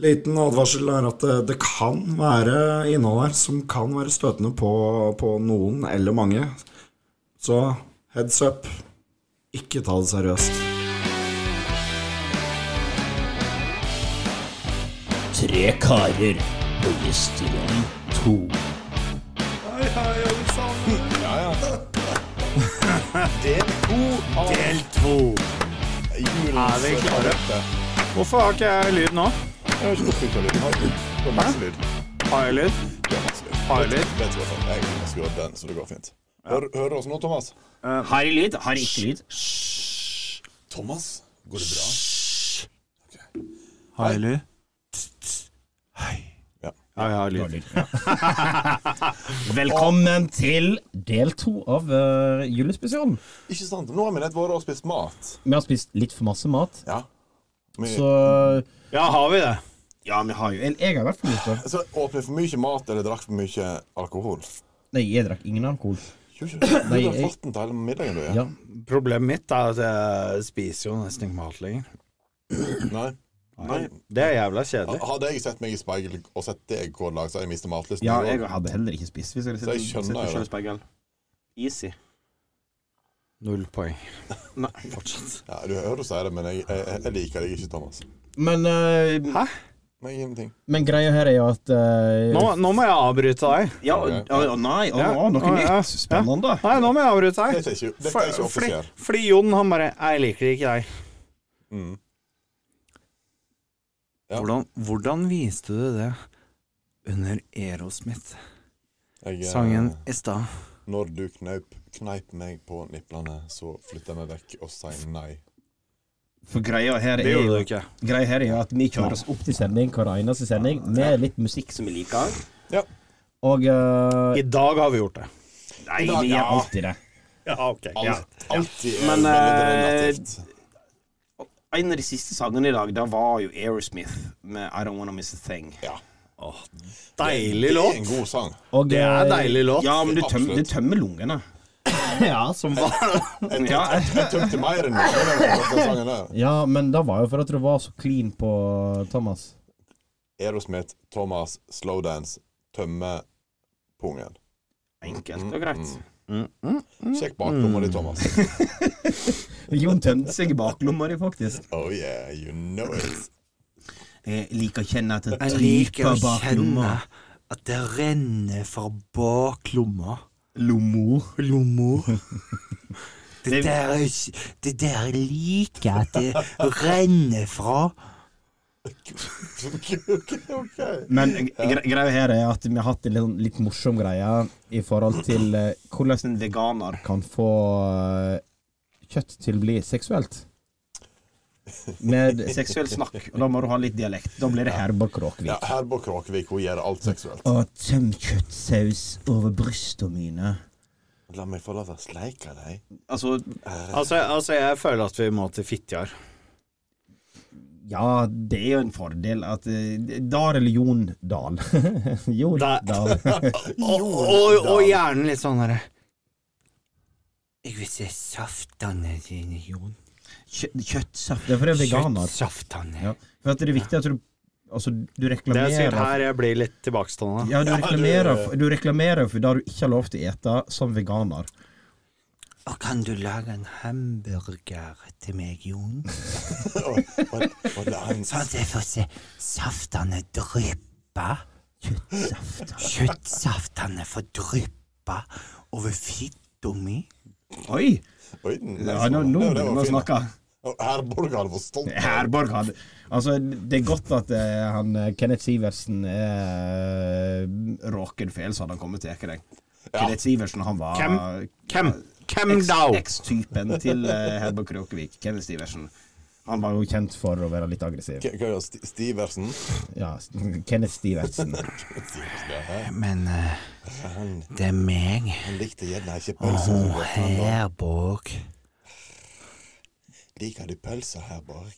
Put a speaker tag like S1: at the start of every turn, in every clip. S1: Liten advarsel er at det, det kan være innhold her som kan være støtende på, på noen eller mange. Så heads up. Ikke ta det seriøst.
S2: Tre karer på gjesterom to.
S3: Er vi klare? Hvorfor har ikke jeg lyd nå?
S4: Jeg har ikke fått ut av lyden. Har du? Det var masse lyd.
S3: Har jeg lyd?
S4: Det var masse lyd.
S3: Har jeg lyd?
S4: Vet du hva, faen, jeg kunne skru av den, så det går fint. Hør, hører du oss nå, Thomas?
S2: Har i lyd, har ikke lyd.
S4: Thomas? Går det bra?
S3: Har jeg lyd?
S4: Ja.
S3: Ja, jeg har lyd.
S2: Velkommen til del to av uh, julespesialen.
S4: Ikke sant? Nå har vi nett vært og spist mat.
S2: Vi har spist litt for masse mat,
S4: Ja. Vi,
S2: så
S3: Ja, har vi det?
S2: Ja, vi har jo Jeg jeg har i hvert fall lite.
S4: så åpner for mye mat eller drakk for mye alkohol.
S2: Nei, jeg drakk ingen alkohol.
S4: Jo, ikke det. Du
S2: Nei,
S4: har
S2: jeg-
S4: fått den til hele middagen, du.
S2: Ja.
S3: Problemet mitt er at jeg spiser jo nesten ikke mat lenger.
S4: Nei. Nei.
S3: Det er jævla kjedelig.
S4: Hadde jeg sett meg i speil og sett deg gå i lag, så hadde jeg mistet matlysten.
S2: ja, jeg hadde heller ikke spist hvis jeg
S4: Så jeg
S2: hadde
S4: skjønner
S2: sett
S4: jo det.
S2: sjøspeil. Easy.
S3: Null poeng.
S2: Nei, fortsatt.
S4: Ja, du hører du sier det, men jeg, jeg, jeg liker deg ikke, Thomas.
S2: Men, eh,
S3: Hæ?
S4: Nei, ingenting.
S2: men greia her er jo at eh,
S3: Nå, nå må jeg avbryte deg.
S2: Ja, å- å- å, nei, å,
S3: Ja.
S2: å, noe
S3: Å, ja.
S2: nytt. Spennende.
S3: Nei, nå må jeg avbryte deg.
S4: Dette er ikke, dette er ikke
S3: For- fordi,
S4: offisiell.
S3: fordi Jon han bare Jeg liker ikke deg.
S4: Mm. Ja.
S3: Hvordan, hvordan viste du det under Aerosmith-sangen
S4: Jeg, eh,
S3: i stad?
S4: Når du knaup, kneip meg på nipplene, så flytta vi vekk og sa nei.
S2: For greia her
S3: Det
S2: er
S3: gjorde
S2: jo
S3: du ikke.
S2: Greia her er jo at vi kjører oss opp til sending hver eneste sending med litt musikk som vi liker.
S4: Ja.
S2: Og eh,
S3: I dag har vi gjort det.
S2: Nei, vi gjør alltid det.
S3: Ja, ok.
S4: Alt, alltid er
S2: Men,
S4: veldig
S2: eh,
S4: relativt.
S2: En av de siste sangene i dag, da var jo Aerosmith med I Don't Wanna Miss A Thing.
S4: Ja.
S3: Deilig
S4: Det er
S3: låt.
S4: en god sang.
S2: Og,
S3: Det er
S2: eh,
S3: deilig låt.
S2: Ja, men du, tøm,
S4: Absolutt.
S2: du tømmer lungene.
S3: Ja, som var
S2: Ja,
S4: Jeg tømte mer enn noen av den sangen der.
S2: ja, men det var jo for at du var så clean på eh, Thomas.
S4: Aerosmith, Thomas, Slowdance, tømme pungen.
S2: Enkelt og greit.
S3: Mm,
S4: Sjekk baklomma di, Thomas.
S3: mm.
S2: Jon tømte seg i baklomma di, faktisk.
S4: Oh yeah, you know it.
S2: Jeg liker å kjenne at det
S3: Jeg liker å kjenne at det renner fra baklomma.
S2: Lommo.
S3: Lommo. Det
S2: Det-
S3: der, er ikke- det der jeg liker at det renner fra.
S4: OK, OK.
S2: Men gre greia her er at vi har hatt en litt, sånn- litt morsom greie i forhold til eh, hvordan en veganer kan få eh, kjøtt til å bli seksuelt. Med seksuelt snakk. Og da må du ha litt dialekt. Da blir det Herborg Kråkvik.
S4: Ja, Herborg Kråkevik, hun gjør alt seksuelt.
S2: Og tøm kjøttsaus over brystene mine.
S4: La meg få lov å sleike deg.
S2: Altså,
S3: Altså, altså, jeg føler at vi må til Fitjar.
S2: ja, det er jo en fordel at eh, Dar eller Jon Dahl. Jon
S3: Da-
S2: Dahl.
S3: Og, og, og gjerne litt sånn herre Jeg vil se saftene dine, Jon.
S2: Kjø kjøttsaft. Det er for det er veganer.
S3: Kjøttsaftene.
S2: Ja. For at det er viktig at du Altså, du
S3: Det er
S2: reklamerer altså
S3: sikkert her jeg blir litt tilbakestående.
S2: Ja, du reklamerer,
S4: du-
S2: for, du reklamerer for det du ikke har lov til å ete som veganer.
S3: Og kan du lage en hamburger til meg, Jon?
S4: Og, og, og det er en
S3: Sånn at jeg får se saftene dryppe. Kjøttsaftene får dryppe over fitta mi.
S2: Oi!
S4: Oi, den- den-
S2: Ja, nå, nå
S4: den- den
S2: begynner vi
S4: var
S2: å
S4: fin, da.
S2: snakke.
S4: Og Herborg hadde vært stolt.
S2: Herborg hadde Altså, det er godt at eh, han eh, Kenneth Sivertsen er eh, råken fel, så hadde han kommet til Ekereng. Kenneth Sivertsen, han var
S3: Hvem? Hvem? Hvem
S2: Eks-
S3: da?
S2: Eks-typen til eh, Herborg Kråkevik. Kenneth Sivertsen. Han var jo kjent for å være litt aggressiv.
S4: Hva gjør Sti- Stiversen?
S2: Ja, Kenneth Sivertsen.
S3: Men eh,
S4: Han,
S3: det er meg.
S4: han likte gjerne ikke pølser så godt. Han da.
S3: Herborg.
S4: Liker du pølser, Herborg?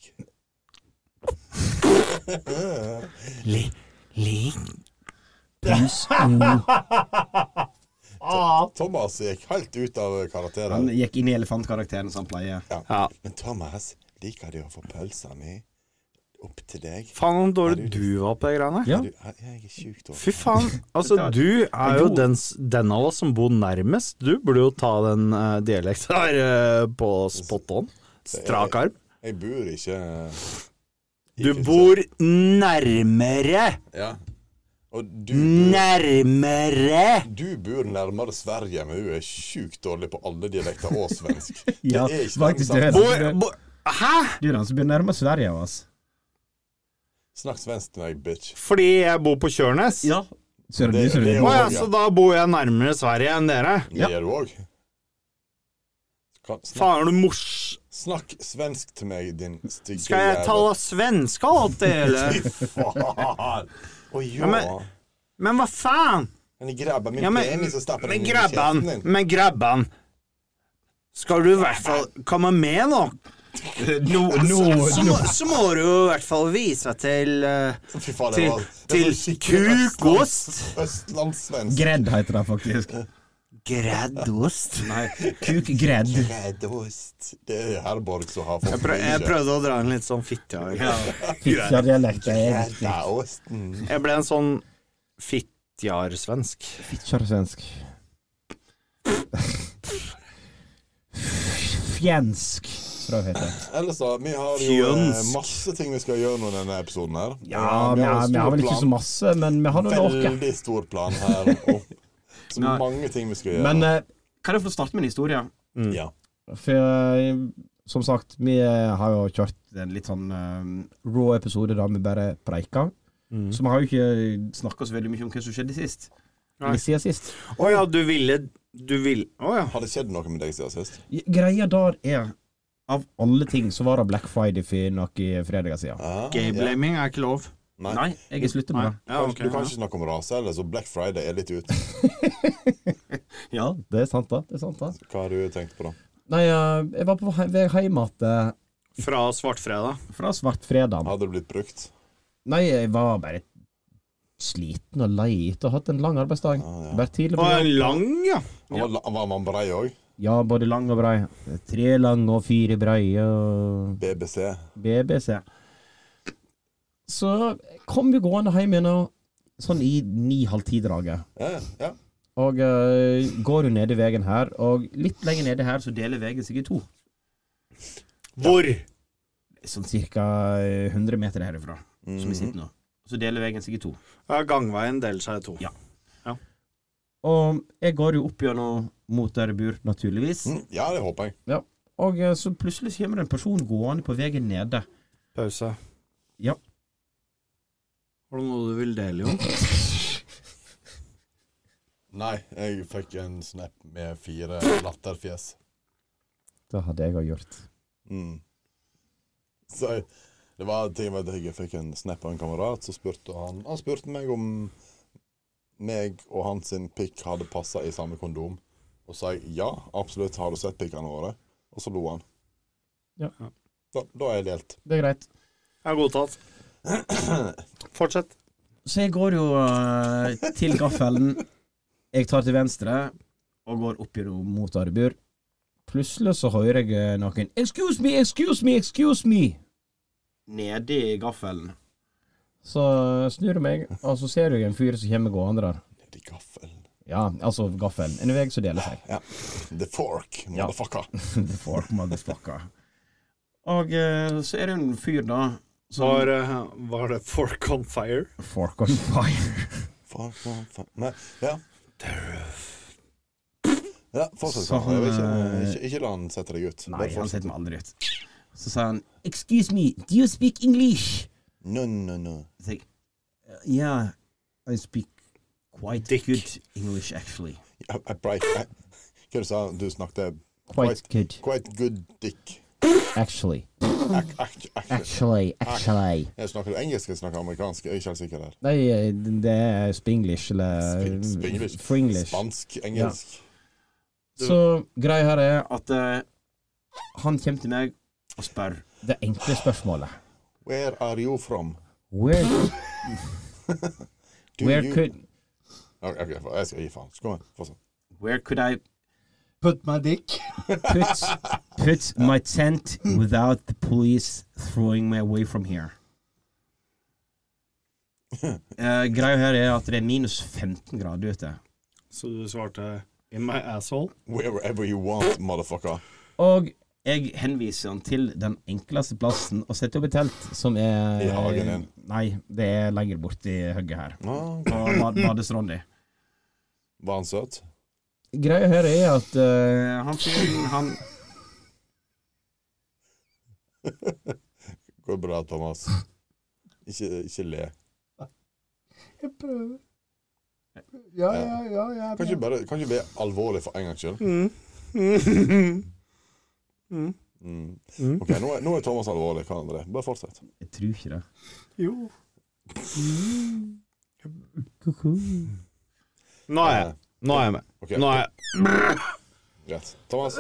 S3: Li... Li...
S2: Pus. Oh.
S4: Thomas gikk helt ut av karakter
S2: Han
S4: her.
S2: gikk inn i elefantkarakteren som han pleier.
S4: Ja.
S3: Ja.
S4: Men Thomas, liker du å få pølsa mi opp til deg.
S3: Faen om dårlig du var på de greiene.
S2: Ja.
S4: Du, jeg jeg er sjuk dårlig.
S3: Fy faen. Altså, du er jo den, s- den av oss som bor nærmest. Du burde jo ta den uh, dialekten her eh, på spot on. Strak arm.
S4: Jeg bor ikke i
S3: Du
S4: Kristian-
S3: bor nærmere!
S4: Ja. Og du bor,
S3: Nærmere!
S4: du bor nærmere Sverige, men hun er sjukt dårlig på alle dialekter og svensk.
S2: Ja,
S4: Det er ikke
S2: faktisk.
S4: sant.
S2: Det er
S3: Hvor,
S2: den
S3: hvor, hæ?
S2: Du er den som blir nærmere Sverige av oss.
S4: Snakk svensk til meg, bitch.
S3: Fordi jeg bor på Tjørnes?
S2: Ja. Så er det,
S4: Det-
S2: du som
S4: det
S2: blir
S4: er jo-
S3: Å ja,
S4: ja.
S3: så da bor jeg nærmere Sverige enn dere?
S4: Det
S2: Ja.
S4: gjør du òg. Snakk,
S3: Faen, er du mors...
S4: snakk svensk til meg, din stygge
S3: Skal jeg
S4: jævel.
S3: tale svenska alt det, eller?
S4: Faen! Å ja.
S3: Ja, men- Men hva faen?
S4: Men grabba min
S3: Ja, men-
S4: penis og stappa
S3: Men
S4: den inn i
S3: grabban,
S4: kjeften din.
S3: men grabban Skal du i hvert fall komme med nå?
S2: Nå, nå,
S4: Altså,
S3: Så må, så må du jo i hvert fall vise til eh,
S4: Fy faen, det
S3: Til,
S4: var, det var
S3: til
S4: skikkelig
S3: kukost.
S4: østlands- Østlandssvensk.
S2: Gredd heter det faktisk.
S3: Greddost.
S2: Kukgredd.
S4: Greddost. Det er Herborg som har fått
S3: Jeg, prøv, jeg prøvde å dra en litt sånn fitte.
S2: Fitjardialekt er egentlig
S4: Greddaosten.
S3: Jeg ble en sånn fittjarsvensk.
S2: fitjarsvensk. Fjensk, tror jeg det heter.
S4: Ellers da, vi har jo eh,
S3: Fjonsk.
S4: masse ting vi skal gjøre nå i denne episoden her.
S2: Ja,
S4: Eh,
S2: vi har,
S4: en
S2: vi har
S4: stor
S2: vel ikke så
S4: plan.
S2: masse, men vi har noen orker.
S4: Veldig stor plan her. Og så
S2: Nei.
S4: mange ting vi skal gjøre.
S2: Men eh, kan jeg få starte med en historie?
S4: ja.
S2: For eh, som sagt, vi eh, har jo kjørt en litt sånn eh, rå episode der vi bare preika. Så vi har jo ikke snakka så veldig mye om hva som skjedde sist.
S3: Nei.
S2: Eller siden sist.
S3: Å ja, du ville Du ville Å ja.
S4: Har det skjedd noe med deg siden sist?
S2: Greia der er av alle ting så var det Black Friday for noen fredager siden.
S4: Ah, ja.
S3: Gayblaming er ikke lov.
S4: Nei.
S2: Nei, jeg har sluttet med det.
S3: Ja, ok,
S4: du kan
S3: ja.
S4: ikke snakke om rase heller, så Black Friday er litt ut.
S2: Ja, det er sant, da. Det er sant, da.
S4: Hva har du tenkt på, da?
S2: Nei, eh, jeg var på vei vei hjem igjen
S3: Fra Svartfredag.
S2: eh, fra Svartfredagen.
S4: Hadde det blitt brukt?
S2: Nei, jeg var bare sliten og lei etter å ha hatt en lang arbeidsdag.
S4: Ah, ja.
S2: Vært tidlig
S3: Å,
S2: på
S3: er
S2: jobb.
S3: den lang, ja.
S4: Han var, han var man brei òg?
S2: Ja, både lang og brei. Tre lange og fire breie og
S4: BBC.
S2: BBC. Så kom vi gående hjem igjen og- sånn i ni-halv ti-draget.
S4: Ja, ja.
S2: Og eh, går jo nede veien her, og litt lenger nede her så deler veien seg i to.
S3: Hvor?
S2: Sånn ca. 100 meter herifra, som
S4: Mhm.
S2: vi sitter nå. Så deler veien seg i to.
S3: Ja, gangveien deler seg i to.
S2: Ja. Og jeg går jo opp gjennom mot der jeg bor, naturligvis.
S4: Mm, ja, det håper jeg.
S2: Ja. Og eh, så plutselig kommer det en person gående på veien nede.
S3: Pause.
S2: Ja.
S3: Har du noe du vil dele, Jon?
S4: Nei, jeg fikk en snap med fire latterfjes.
S2: Det hadde jeg òg gjort.
S4: Mm. Så jeg- det var en ting med at jeg fikk en snap av en kamerat, så spurte han Han spurte meg om meg og hans sin pikk hadde passa i samme kondom. Og sa jeg ja, absolutt, har du sett pikkene våre? Og så lo han.
S2: Ja.
S4: Da, da er jeg delt.
S2: Det er greit.
S3: Jeg er godtatt. Fortsett.
S2: Så jeg går jo eh, til gaffelen. Jeg tar til venstre og går opp gjennom mot Arbjørg. Plutselig så hører jeg eh, noen 'Excuse me, excuse me, excuse me' nede i gaffelen. Så eh, snur jeg meg, og så ser jeg en fyr som kommer gående der.
S4: Nedi gaffelen.
S2: Ja, altså gaffelen. En vei som deler seg.
S4: The fork,
S2: Ja.
S4: motherfucker.
S2: The fork motherfucker. Og eh, så er det jo en fyr, da, som
S3: Var, eh, var det Fork on Fire?
S2: Fork on fire.
S4: Fuck, fuck, fuck. Nei, ja. Ja, fortsett.
S2: Så han,
S4: Karl. Jeg vil ikke,
S2: eh,
S4: ikke, ikke la han sette deg ut.
S2: Nei,
S4: Bare
S2: han
S4: fortsett.
S2: setter meg aldri ut. Så sa han Excuse me, do you speak English?
S4: No, no, no.
S2: Jeg tenker, Yeah, I speak quite
S3: Dick.
S2: good English, actually.
S4: I, I break. I, hva du sa du? snakket
S2: Quite good,
S4: quite good dick.
S2: actually.
S4: Ak, ak, ak.
S2: Actually, actually.
S4: Jeg snakker engelsk, jeg snakker amerikansk. Jeg er ikke helt sikker der.
S2: Nei, det er spinglish, eller eh,
S4: Sp- Spanglish.
S2: fringlish.
S4: Spansk, engelsk.
S2: Så greia her er at eh, han kommer til meg og spør det enkle spørsmålet.
S4: Where are you from?
S2: Where,
S4: Do
S2: where
S4: you...
S2: could
S4: Ok, ok, jeg skal gi faen. Kom igjen, fortsett.
S2: Where could I
S1: Put my dick.
S2: put put my tent without the police throwing me away from here? Eh, greia her er at det er minus 15 grader ute.
S5: Så du svarte In my asshole.
S4: Wherever you want, motherfucker.
S2: Og jeg henviser han til den enkleste plassen å sette opp et telt, som er
S4: I hagen din.
S2: Nei, det er lenger bort i høgget her.
S4: Ah,
S2: På bad- badestranda.
S4: var han søt?
S2: Greia her er at eh, han fyren, han
S4: Går bra, Thomas. Ikke, ikke le.
S5: Jeg prøver. Ja,
S4: ja,
S5: ja. ja
S4: Kan ikke bare kan ikke være alvorlig for en gangs skyld?
S5: Mm.
S4: Mm. OK, nå er, nå er Thomas alvorlig. Kan han det? Bare fortsett.
S2: Jeg tror ikke det.
S5: Jo. Nå
S2: Ah,
S5: er jeg Nå er jeg med.
S4: Eh, Ok,
S5: Nå er jeg,
S4: Greit. Thomas,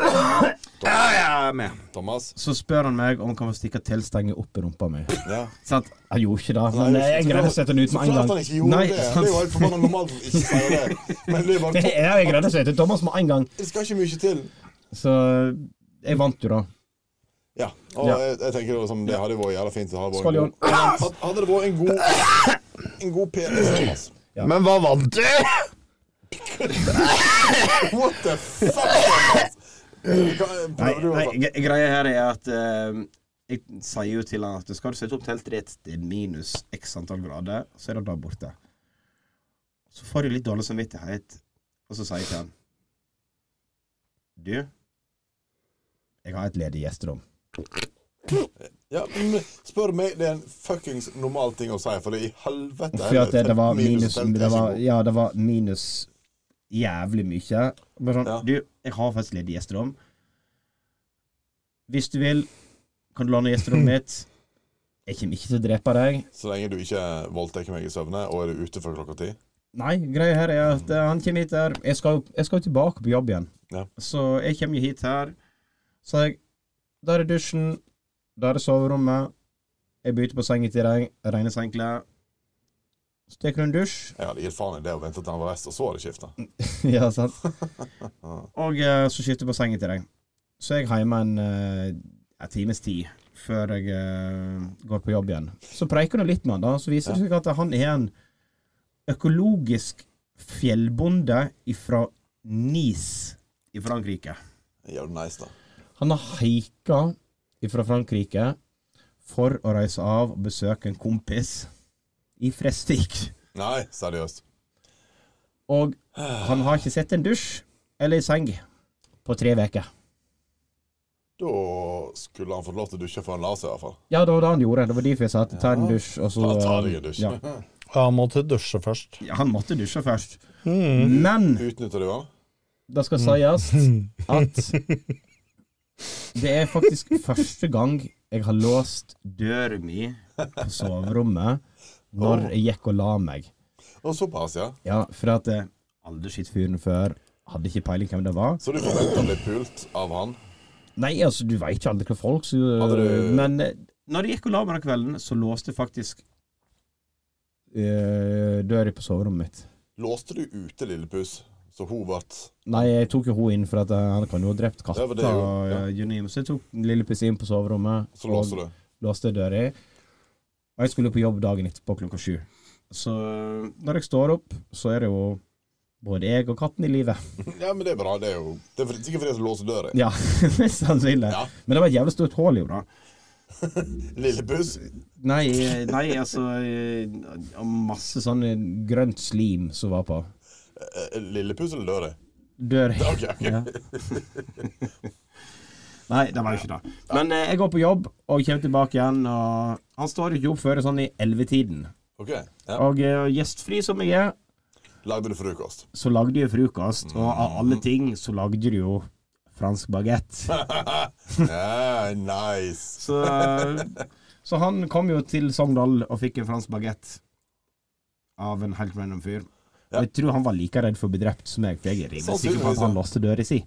S5: jeg er med.
S4: Thomas.
S2: Så spør han meg om han kan få stikke teltstenge opp i rumpa mi.
S4: Ja.
S2: Sant? Han gjorde ikke det. Men
S4: Nei,
S2: det er
S4: så
S2: greit
S4: klart-
S2: å sette den ut
S4: Så
S2: med en
S4: klart
S2: gang.
S4: han ikke gjorde
S2: Nei,
S4: det! Det
S2: sant?
S4: er jo helt forbanna normalt å ikke si det. Men det er bare
S2: Det er jo greit å sette Thomas med en gang.
S4: Det skal ikke mye til.
S2: Så jeg vant jo, da.
S4: Ja. Og
S2: Ja.
S4: Jeg, jeg tenker det, var som, det hadde vært jævla fint å ha vært
S2: Skål,
S4: en god- Had- Hadde det vært en god En god penis, Thomas.
S3: Men hva vant du?
S4: What the fuck, Thomas? Hva-
S2: Nei,
S4: Prøver du
S2: nei
S4: å
S2: gre- greia her er at eh, jeg sier jo til han at skal du sette opp teltet ditt til minus x antall grader, så er det da borte. Så får jeg litt dårlig samvittighet, og så sier jeg til han Du, jeg har et ledig gjesterom.
S4: ja, men Spør meg, det er en fuckings normal ting å si, for det er i helvete
S2: For at det, det var
S4: minus
S2: minus
S4: fem,
S2: det var,
S4: ikke god.
S2: Ja, det var minus jævlig mye. Bare sånn
S4: Ja.
S2: Du, jeg har faktisk ledig gjesterom. Hvis du vil, kan du låne gjesterommet mitt. Jeg kommer ikke til å drepe deg.
S4: Så lenge du ikke voldtar meg i søvne, og er du ute før klokka ti.
S2: Nei, greia her er at eh, han kommer hit her Jeg skal, jeg skal jo tilbake på jobb igjen.
S4: Ja.
S2: Så jeg kommer jo hit her. Så jeg Der er dusjen. Der er soverommet. Jeg bytter på senga til deg. Rene sengklær. Så tar du en dusj.
S4: Jeg hadde gitt faen i det og ventet til han var reist, og så hadde jeg skifta.
S2: ja, sant. Og eh, så skifter jeg på senga til deg. Så er jeg hjemme en, eh, en times tid før jeg eh, går på jobb igjen. Så preiker du litt med han, da. Så viser det seg at han er en økologisk fjellbonde fra Nice i Frankrike.
S4: Jævlig nice, da.
S2: Han har haika fra Frankrike for å reise av og besøke en kompis i Fresvik.
S4: Nei, seriøst.
S2: Og han har ikke sett en dusj eller en seng på tre uker.
S4: Da skulle han fått lov til å dusje før han la seg, i hvert fall.
S2: Ja, det var det han gjorde. Det var derfor jeg sa at ta en dusj, og så eh,
S4: Da tar jeg en dusj.
S2: Ja.
S3: Han måtte dusje først.
S2: Ja, han måtte dusje først. Men
S4: Utnytter du han?
S2: det skal sies at det er faktisk første gang jeg har låst døra mi på soverommet når jeg gikk og la meg.
S4: Og såpass, ja.
S2: Ja, for at eh, aldri sett fyren før. Hadde ikke peiling hvem det var.
S4: Så du forventa å bli pult av han?
S2: Nei, altså, du veit ikke aldri hva folk så,
S4: Hadde du-
S2: Men eh, når jeg gikk og la meg den kvelden, så låste jeg faktisk eh, døra på soverommet mitt.
S4: Låste du ute Lillepus, så hun ble
S2: Nei, jeg tok jo hun inn, for at eh, han kan jo ha drept katta
S4: Ja, for det er jo-
S2: og
S4: ja.
S2: eh, you name it. Så jeg tok lille Puss inn på soverommet
S4: Så låste du.
S2: låste døra. Og jeg skulle på jobb dagen etterpå klokka sju. Så eh, når jeg står opp, så er det jo både jeg og katten i live.
S4: Ja, men det er bra. Det er jo Det er for- sikkert fordi jeg låser døra.
S2: Ja, mest sannsynlig.
S4: Ja.
S2: Men det var et jævlig stort hull, jo da.
S4: Lillepus.
S2: Nei, eh, nei altså eh, og Masse sånn eh, grønt slim som var på
S4: Eh, eh, Lillepus eller døra?
S2: døra.
S4: OK. ok.
S2: Ja. Nei, det var jo ikke det. Men eh, jeg går på jobb og kommer tilbake igjen. Og han står ikke opp før sånn i ellevetiden.
S4: Ok, ja.
S2: Og eh, gjestfri som jeg er,
S4: Lagde du frokost?
S2: så lagde jeg frokost. Og av alle
S4: Mm.
S2: ting så lagde du jo fransk bagett.
S4: Ja, nice.
S2: Så, eh, så han kom jo til Sogndal og fikk en fransk bagett av en helt random fyr. Og Jeg tror han var like redd for å bli drept som jeg, for jeg er rimelig sikker på
S4: Sannsynligvis,
S2: at han
S4: ja.
S2: låste døra si.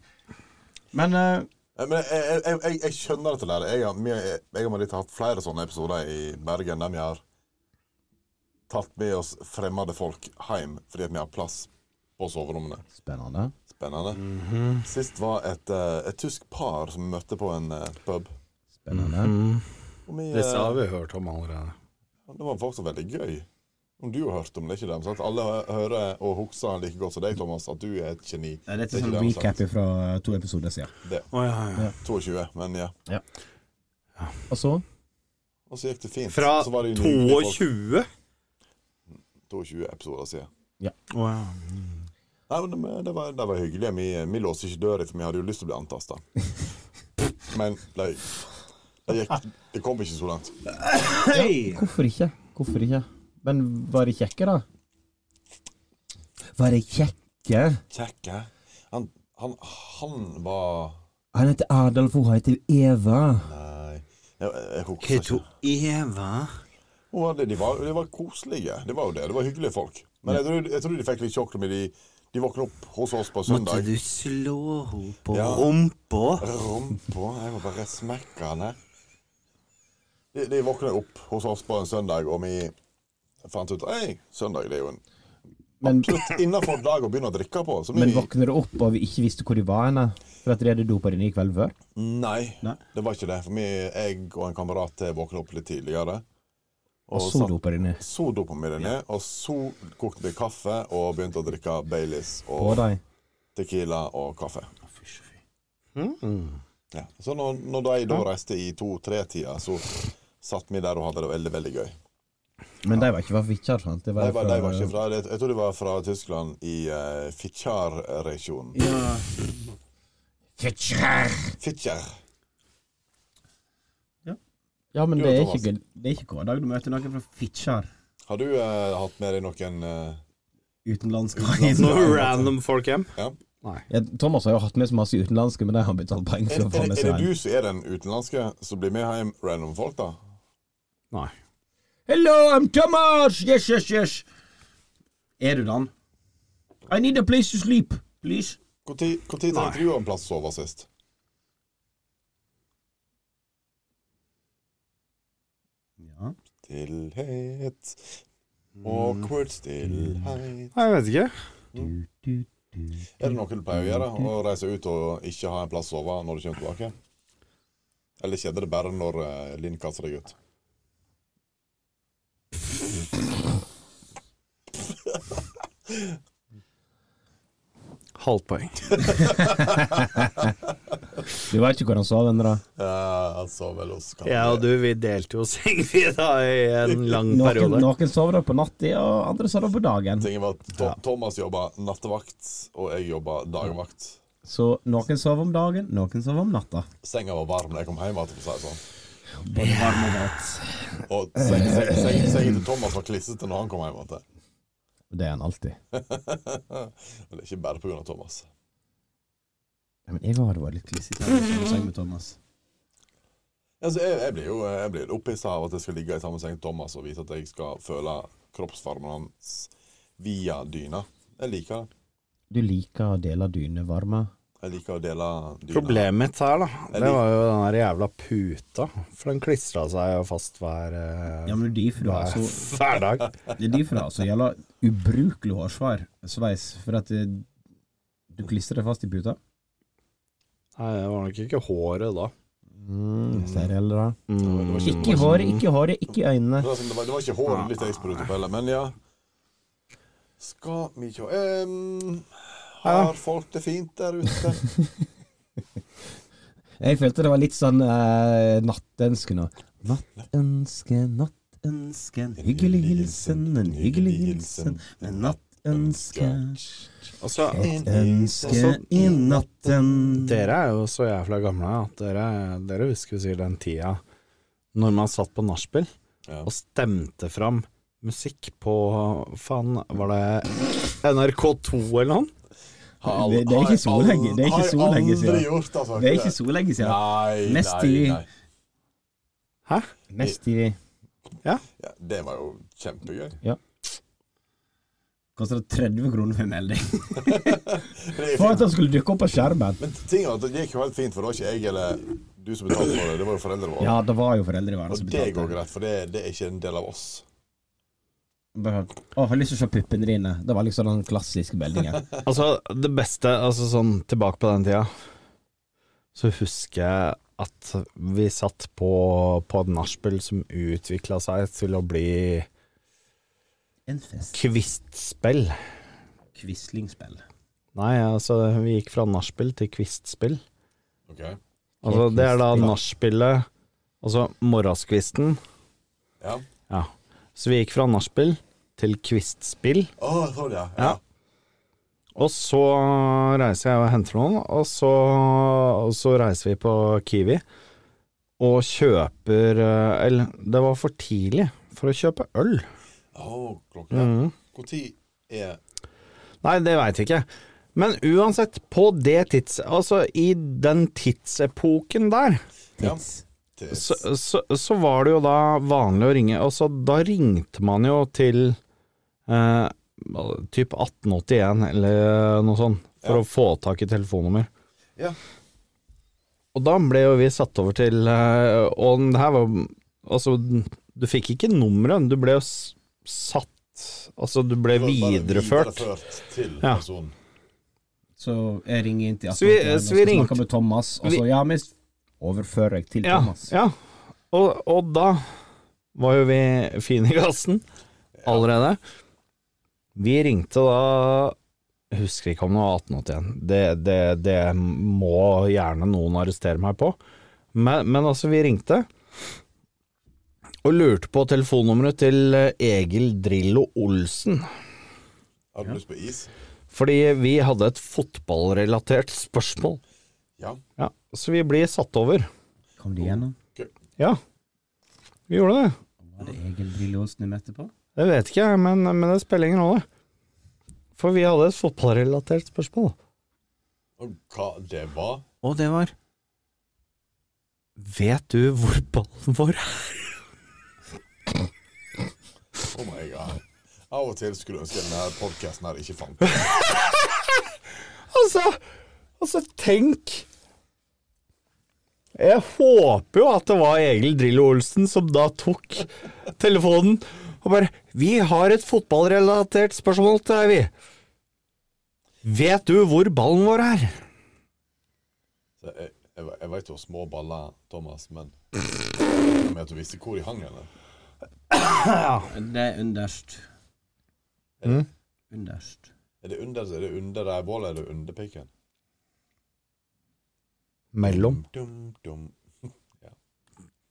S2: Men eh,
S4: Ja, Men jeg, jeg, jeg- jeg, jeg skjønner dette, lærer. Jeg, har- vi- jeg, jeg og Marita har hatt flere sånne episoder i Bergen der vi har tatt med oss fremmede folk hjem fordi at vi har plass på soverommene.
S2: spennende.
S4: Spennende. Sist var et, eh, et tysk par som møtte på en eh, pub.
S2: Spennende.
S4: Og vi,
S3: Disse
S4: eh,
S3: har vi hørt om allerede.
S4: det var faktisk veldig gøy. Om du har hørt om det, ikke det? Sant? Alle hø- hører og husker like godt som deg, Thomas, at du er et geni.
S2: Nei, Dette er
S4: Det er
S2: sånn
S4: ikke det han
S2: recap fra to episoder siden.
S5: Å, ja, ja.
S4: 22, men ja.
S2: Og så
S4: Og så gikk det fint.
S5: Fra
S4: så var det jo nydelige folk.
S5: 22?
S4: 22 episoder siden.
S5: Å, ja.
S4: Nei, men det, det, var, det var hyggelig. Vi, vi låste ikke døra, for vi hadde jo lyst til å bli antasta. Men det, det, gikk, det kom ikke så langt.
S2: Hvorfor ikke? Hvorfor ikke? Men var det kjekke, da? Var det kjekke?
S4: Kjekke. Han, han, han var
S2: Han heter Adolf, hun heter Eva.
S4: Nei, jeg, jeg, jeg husker
S5: Keto
S4: ikke.
S5: Eva.
S4: Hun hadde- de, var, de var koselige. Det var jo det. Det var hyggelige folk. Men jeg tror, jeg tror de fikk litt sjokk når de, de våkna opp hos oss på
S5: Måtte
S4: søndag.
S5: du slå henne på
S4: Ja.
S5: rumpa?
S4: Rumpa Jeg må bare smekke den her. De, de våkna opp hos oss på en søndag, og vi fant ut Ei, søndag det er jo en
S2: Men,
S4: absolutt innafor dag å begynne å drikke på. Så vi,
S2: men våkner du opp og vi ikke visste hvor de var henne? For at de hadde dopa dine i kveld før?
S4: nei,
S2: Nei.
S4: det var ikke det. For vi, jeg og en kamerat til våkna opp litt tidligere.
S2: Og så dopa dine
S4: så dopa vi det ned, og så kokte vi kaffe og begynte å drikke Baileys
S2: på
S4: og
S2: deg?
S4: Tequila og kaffe. Ja. Så når, når de da reiste i to-tre-tida, så satt vi der og hadde det veldig, veldig gøy.
S2: Men de var ikke fra Fitjar, sant? Det
S4: De var, de var ikke
S2: fra
S4: fra, jeg jeg tror de var fra Tyskland, i uh, Fitjar-regionen.
S2: Fitjar!
S4: Fitjar.
S2: Ja, men
S4: Jo,
S2: det er
S4: Thomas.
S2: ikke, det er ikke hver dag du møter noen fra Fitjar
S4: Har du eh, hatt med deg noen eh,
S2: utenlandske.
S5: Noen random folk hjem?
S2: Ja, Thomas har jo hatt med så masse utenlandske, men de har betalt penger
S4: er,
S2: for å få
S4: er,
S2: med
S4: er det
S2: seg en.
S4: du som er den utenlandske som blir med hjem random folk, da?
S5: Nei.
S2: Hello, I'm Thomas! Yes, yes, yes! Er du den? I need a place to sleep, please.
S4: Når trengte du en plass å sove sist?
S2: Ja.
S4: Stillhet. Awkward
S5: Mm.
S4: stillhet.
S5: Nei, Jeg vet ikke.
S4: Er det noe du pleier å gjøre?
S5: Mm.
S4: Å reise ut og ikke ha en plass å sove når du kommer tilbake? Eller skjedde det bare når eh, Linn kaster deg ut?
S5: Halvt poeng.
S2: Du veit ikke hvor han sov, venner.
S4: Ja, han sov vel hos Kalle.
S5: Ja, og du, vi delte jo seng, vi, da, i en lang
S2: Noen,
S5: periode.
S2: noen sov da på natta, og andre sov da på dagen.
S4: Tingen var at Tho- Thomas jobba nattevakt, og jeg jobba dagvakt.
S2: Så noen sov om dagen, noen sov om natta.
S4: Senga var varm da jeg kom hjem, igjen, for å si det sånn.
S2: Både varm og våt.
S4: Og sengen seng, seng, sengen til Thomas var klissete når han kom hjem. igjen.
S2: Det er han alltid.
S4: Men det er ikke bare pga. Thomas.
S2: Ja, men jeg hadde vært litt klissete her, hvis jeg sov med Thomas.
S4: Altså, jeg, jeg blir jo jeg blir opphissa av at jeg skal ligge i samme seng som Thomas og vise at jeg skal føle kroppsvarmen hans via dyna. Jeg liker det.
S2: Du liker å dele dyne varme.
S4: Jeg liker å dele dyna.
S5: Problemet mitt her, da, det var jo den der jævla puta. For den klistra seg jo fast hver, eh,
S2: Ja, men det er derfor du har så
S5: hver dag.
S2: Det er derfor det er så jævla ubrukelig hårsvar, sveis, for at eh, du klistrer det fast i puta.
S5: Nei, det var nok ikke håret da.
S2: Mm, da.
S4: Det var ikke,
S2: Ikke håret, ikke håret, ikke øynene.
S4: det var, det var, det var ikke håret ditt jeg sprutet på heller, men ja. Skal vi sjå Em, Har folk det fint der ute?
S2: Jeg følte det var litt sånn eh, nattønske nå. Nattønske, nattønsken. Hyggelig hilsen, en hyggelig hilsen. En nattønske.
S5: Altså,
S2: Et ønske i natten.
S5: dere er jo så jævla gamle at dere, dere husker jo sikkert den tida når man satt på nachspiel
S4: Ja.
S5: og stemte fram musikk på Faen, var det NRK2 eller noe?
S4: Har
S2: Det- det er ikke så
S4: har jeg
S2: lenge- det er ikke
S4: aldri-
S2: så lenge
S4: Har jeg aldri
S2: siden.
S4: gjort, altså.
S2: Det er ikke så lenge siden.
S4: Nei,
S2: Mest
S4: nei,
S2: i-
S4: nei.
S5: Hæ?
S2: Mest i
S4: Ja, det var jo kjempegøy.
S2: Koster det 30 kroner for en melding?
S4: Men det er
S2: For
S4: fint.
S2: at han skulle dukke opp på skjermen.
S4: Men ting er at det gikk jo helt fint, for det var ikke jeg eller du som betalte for det, det var jo foreldrene våre.
S2: Ja, det var jo foreldre i verden
S4: og
S2: som
S4: det går
S2: betalte.
S4: greit, for det, det er ikke en del av oss.
S2: Bare, Å, jeg har lyst til å se puppene dine. Det var liksom den klassiske meldingen.
S5: Altså, det beste, altså sånn tilbake på den tida, så husker jeg at vi satt på, på et nachspiel som utvikla seg til å bli
S2: En fest.
S5: Kvistspill.
S2: Quislingspill.
S5: Nei, altså, vi gikk fra nachspiel til kvistspill.
S4: Ok.
S5: Altså, det er da
S2: Kvistspill.
S5: nachspielet Altså morgenskvisten.
S4: Ja.
S5: Ja. Så vi gikk fra nachspiel til kvistspill.
S4: Å, sånn, ja.
S5: Ja. Og så reiser jeg og henter noen, og så, og så reiser vi på Kiwi og kjøper eh, Eller, det var for tidlig for å kjøpe øl.
S4: Å, klokka.
S5: Mhm.
S4: Hvor tid er
S5: Nei, det veit jeg ikke. Men uansett, på det tids... Altså, i den tidsepoken der,
S4: ja, til-
S5: så, så, så var det jo da vanlig å ringe Og så da ringte man jo til eh, typ 1881 eller noe sånt,
S4: Ja.
S5: for å få tak i telefonnummer.
S4: Ja.
S5: Og da ble jo vi satt over til eh, Og det her var Altså, du fikk ikke nummeret, du ble jo s- satt Altså, du ble
S4: Det var bare
S5: videreført.
S4: videreført til
S5: Ja.
S4: personen.
S2: Så jeg ringer inn til
S5: Så vi-
S2: 1881 og
S5: så vi
S2: skal
S5: ringte-
S2: snakke med Thomas, og så
S5: vi-
S2: ja, vi overfører jeg til
S5: Ja,
S2: Thomas.
S5: ja. Og, og da var jo vi fine i gassen allerede. Vi ringte da jeg husker ikke om det var 1881. Det, det, det må gjerne noen arrestere meg på. Men, men altså, vi ringte og lurte på telefonnummeret til Egil Drillo Olsen.
S4: Har du lyst på is?
S5: Fordi vi hadde et fotballrelatert spørsmål.
S4: Ja.
S5: Ja, så vi blir satt over.
S2: Kom de gjennom?
S5: Ja, vi gjorde det.
S2: Var det Egil Drillosen jeg møtte på?
S5: Det vet ikke jeg, men, men det spiller ingen rolle. For vi hadde et fotballrelatert spørsmål.
S4: Og hva det var?
S5: Og det var Vet du hvor ballen vår er?
S4: Oh my god. Av og til skulle jeg ønske denne podkasten her ikke fant det.
S5: Altså, altså, tenk Jeg håper jo at det var Egil Drillo Olsen som da tok telefonen og bare 'Vi har et fotballrelatert spørsmål til deg, vi'. Vet du hvor ballen vår er?
S4: Så Jeg, jeg, jeg veit du har små baller, Thomas, men med at du visste hvor de hang henne.
S2: Det er underst.
S6: Mm.
S2: Underst.
S4: Er det under, er det under der bålet, eller under pikken?
S5: Mellom.
S4: Dum, dum,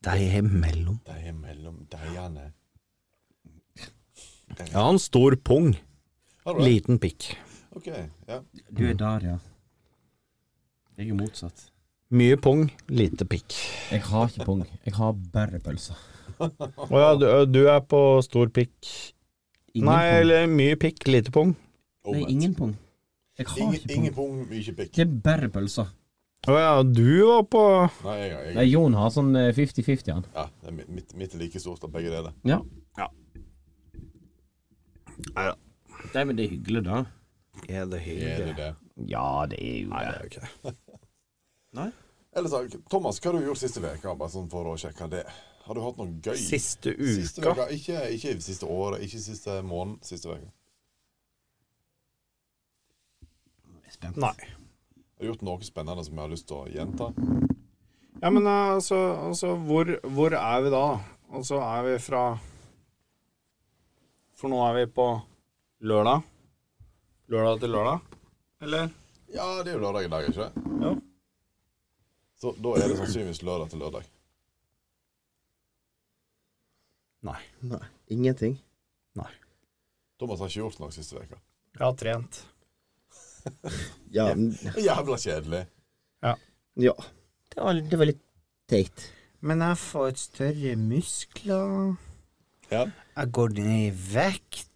S5: Deg imellom.
S4: de er mellom deiene.
S5: Ja, en stor pung.
S4: Har du det?
S5: Liten pikk.
S4: OK. Ja.
S2: Du
S6: Mm.
S2: er der, ja. Jeg er motsatt.
S5: Mye pung, lite pikk.
S2: Jeg har ikke pung. Jeg har bare pølser.
S5: Å ja, du, du er på stor pikk.
S2: Ingen
S5: Nei,
S2: pung.
S5: eller mye pikk, lite pung.
S2: Nei,
S4: Omvendt.
S2: ingen pung. Jeg har
S4: Ingen,
S2: ikke pung.
S4: ingen pung, mye pikk.
S2: Det er bare pølser.
S5: Å ja, du var på
S4: Nei, jeg, jeg,
S2: Nei, Jon har sånn eh, 50-50, han.
S4: ja, det er mitt, mitt er like stort av begge deler.
S2: Ja.
S5: Ja. Nei da.
S2: Nei, men det er hyggelig, da.
S5: Er det
S4: Er det det?
S2: Ja, det er jo det.
S5: er jo ikke det.
S4: Eller så, Thomas, hva har du gjort siste uka? Bare sånn for å sjekke det. Har du hatt noe gøy?
S5: Siste
S4: Siste
S5: uka.
S4: veka, Ikke, ikke siste året, ikke siste måneden. Siste uka.
S2: Jeg er spent.
S5: Nei.
S4: Har du gjort noe spennende som jeg har lyst til å gjenta?
S5: Ja, men eh, altså, altså hvor, hvor er vi da? Og så er vi fra For nå er vi på lørdag. Lørdag til lørdag, eller?
S4: Ja, det er jo lørdag i dag, ikke det?
S5: Ja.
S4: Så da er det sannsynligvis lørdag til lørdag.
S5: Nei.
S2: Ingenting.
S5: Nei.
S4: Thomas har ikke gjort noe siste uka.
S5: Jeg har trent.
S2: Ja.
S4: Jævla kjedelig.
S2: Det, var, litt teit.
S5: Men jeg får et større muskler.
S4: Ja.
S5: Jeg går ned i vekt,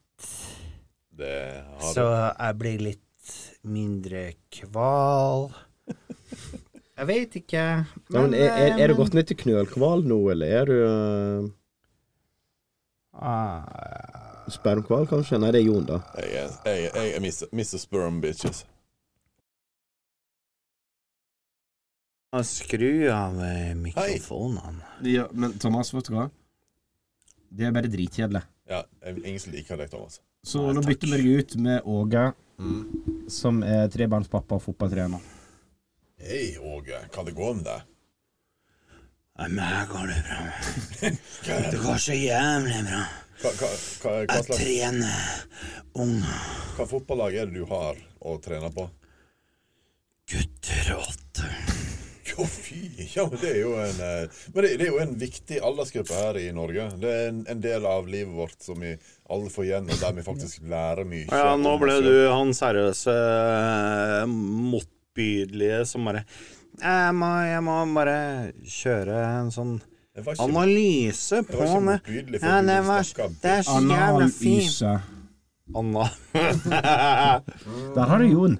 S4: Det har
S5: så jeg blir litt mindre kval. Jeg veit ikke. eh,
S6: Ja, men er, er,
S2: eh,
S6: er du gått ned til knølkval nå, eller er du uh,
S5: Ah,
S6: spermkval, kanskje? Nei, det er Jon, da.
S4: du. Jeg, er- jeg, jeg er Mr. Mr. Sperm Bitches.
S5: Skru av eh, mikrofonen.
S2: Ja, men Thomas, vet du hva? Det er bare dritkjedelig.
S4: Ja, jeg, ingen som liker deg, Thomas.
S2: Så
S5: Nei,
S2: nå
S5: takk.
S2: bytter vi deg ut med Åge, som er trebarnspappa og fotballtrener.
S4: Hei, Åge. Kan det gå med deg?
S5: Nei, men her går det bra. Det går så jævlig bra.
S4: Hva, hva, hva, hva, slags,
S5: Trene ung
S4: hva fotballag er det du har å trene på?
S5: gutter åtte.
S4: Jo, fy! Ja, men det er jo en, eh, men det, det er jo en viktig aldersgruppe her i Norge. Det er en, en del av livet vårt som vi alle får igjen, og der vi faktisk lærer mye.
S5: Ja, nå
S4: om
S5: ble
S4: oss
S5: du
S4: selv.
S5: han seriøse, eh, motbydelige som bare jeg må, jeg må bare kjøre en sånn
S4: Jeg var ikke-
S5: analyse på
S4: ikke
S5: det.
S4: motbydelig, for
S5: Ja,
S4: du
S5: det, var,
S4: snakket om
S5: det er så jævla fint.
S2: Analyse.
S5: Anna.
S2: Der har du Jon.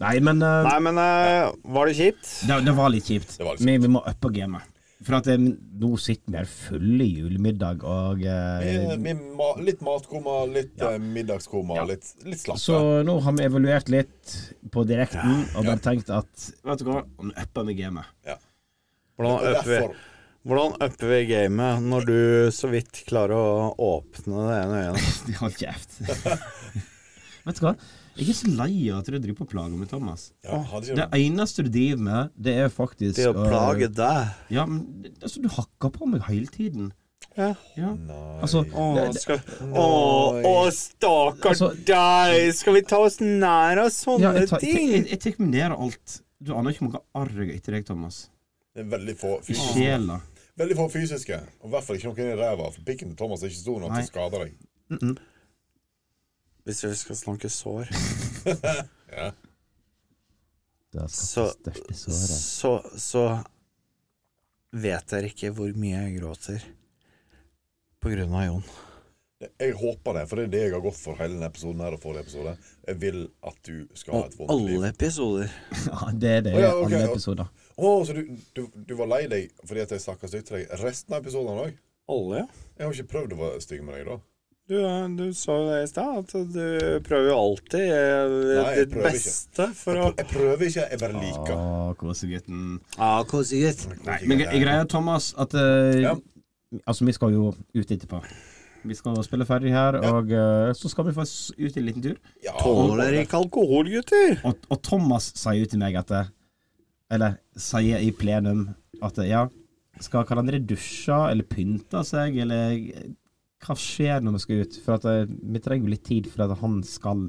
S2: Nei, men eh,
S5: Nei, men eh, var det kjipt?
S2: det, det var litt kjipt.
S4: Det var litt
S2: Men vi må uppe gamet. For at eh, nå sitter vi her fulle julemiddag og eh,
S4: Vi- vi ma litt matkoma, litt eh, middagskoma, litt, litt slappe.
S2: Så nå har vi evaluert litt på direkten og bare tenkt at Vet du hva, om upper vi gamet.
S4: Og
S5: Hvordan upper vi,
S4: derfor
S5: hvordan upper vi gamet når du så vidt klarer å åpne det ene øyet?
S2: De Hold kjeft. Vet du hva? Jeg er så lei av at du driver på og plager med Thomas.
S4: ja, hadde ikke
S2: Det eneste du driver med, det er faktisk eh,
S5: Det å plage deg.
S2: Ja, men det- altså, du hakker på meg hele tiden.
S5: Ja.
S2: Ja. Altså,
S5: Å,
S2: det- det-
S5: skal, å, å stakkar
S2: Altså-
S5: deg! Skal vi ta oss nær av
S4: sånn
S2: ja,
S5: sånne
S2: jeg, tar, jeg,
S5: ting?
S2: jeg, jeg tar meg ned av alt. Du aner ikke hvor mange arr jeg har etter deg, Thomas.
S4: Det er veldig få
S2: I
S4: fysiske.
S2: sjela.
S4: Veldig få fysiske. Og i hvert fall ikke noen i ræva. For pikken til Thomas er ikke stor nok til å skade deg.
S5: Hvis vi skal snakke sår,
S2: Det
S5: så så, så vet dere ikke hvor mye jeg gråter på grunn av Jon.
S4: Jeg håper det, for det er det jeg har gått for hele denne episoden her og forrige episode. Jeg vil at du skal ha et
S5: Og
S4: vondt liv.
S5: alle episoder.
S2: Ja, det er det i
S4: Å, ja, ok,
S2: alle
S4: ja.
S2: episoder.
S4: Å, så du, du, du var lei deg fordi at jeg snakka stygt til deg resten av episoden òg?
S5: Alle, ja.
S4: Jeg har ikke prøvd å være stygg med deg, da.
S5: Du, er- du sa jo det i stad, at du prøver jo alltid eh,
S4: Nei, jeg
S5: ditt
S4: prøver ikke.
S5: beste for å
S4: Jeg, jeg prøver ikke, jeg bare liker.
S5: Ah.
S2: Å, kosegutten.
S5: Ja, koselig.
S4: Nei,
S2: Men gre- greia, Thomas, at eh,
S4: Ja.
S2: Altså, vi skal jo ut etterpå. Vi skal spille ferdig her,
S4: Ja.
S2: og eh, så skal vi faktisk ut en liten tur.
S4: ja,
S5: Tåler dere ikke alkohol, gutter?
S2: Og, og Thomas sier jo til meg at eh, Eller sier i plenum at eh, ja, skal kan dere dusje eller pynte seg, eller eh, hva skjer når vi skal ut? For at eh, vi trenger jo litt tid for at han skal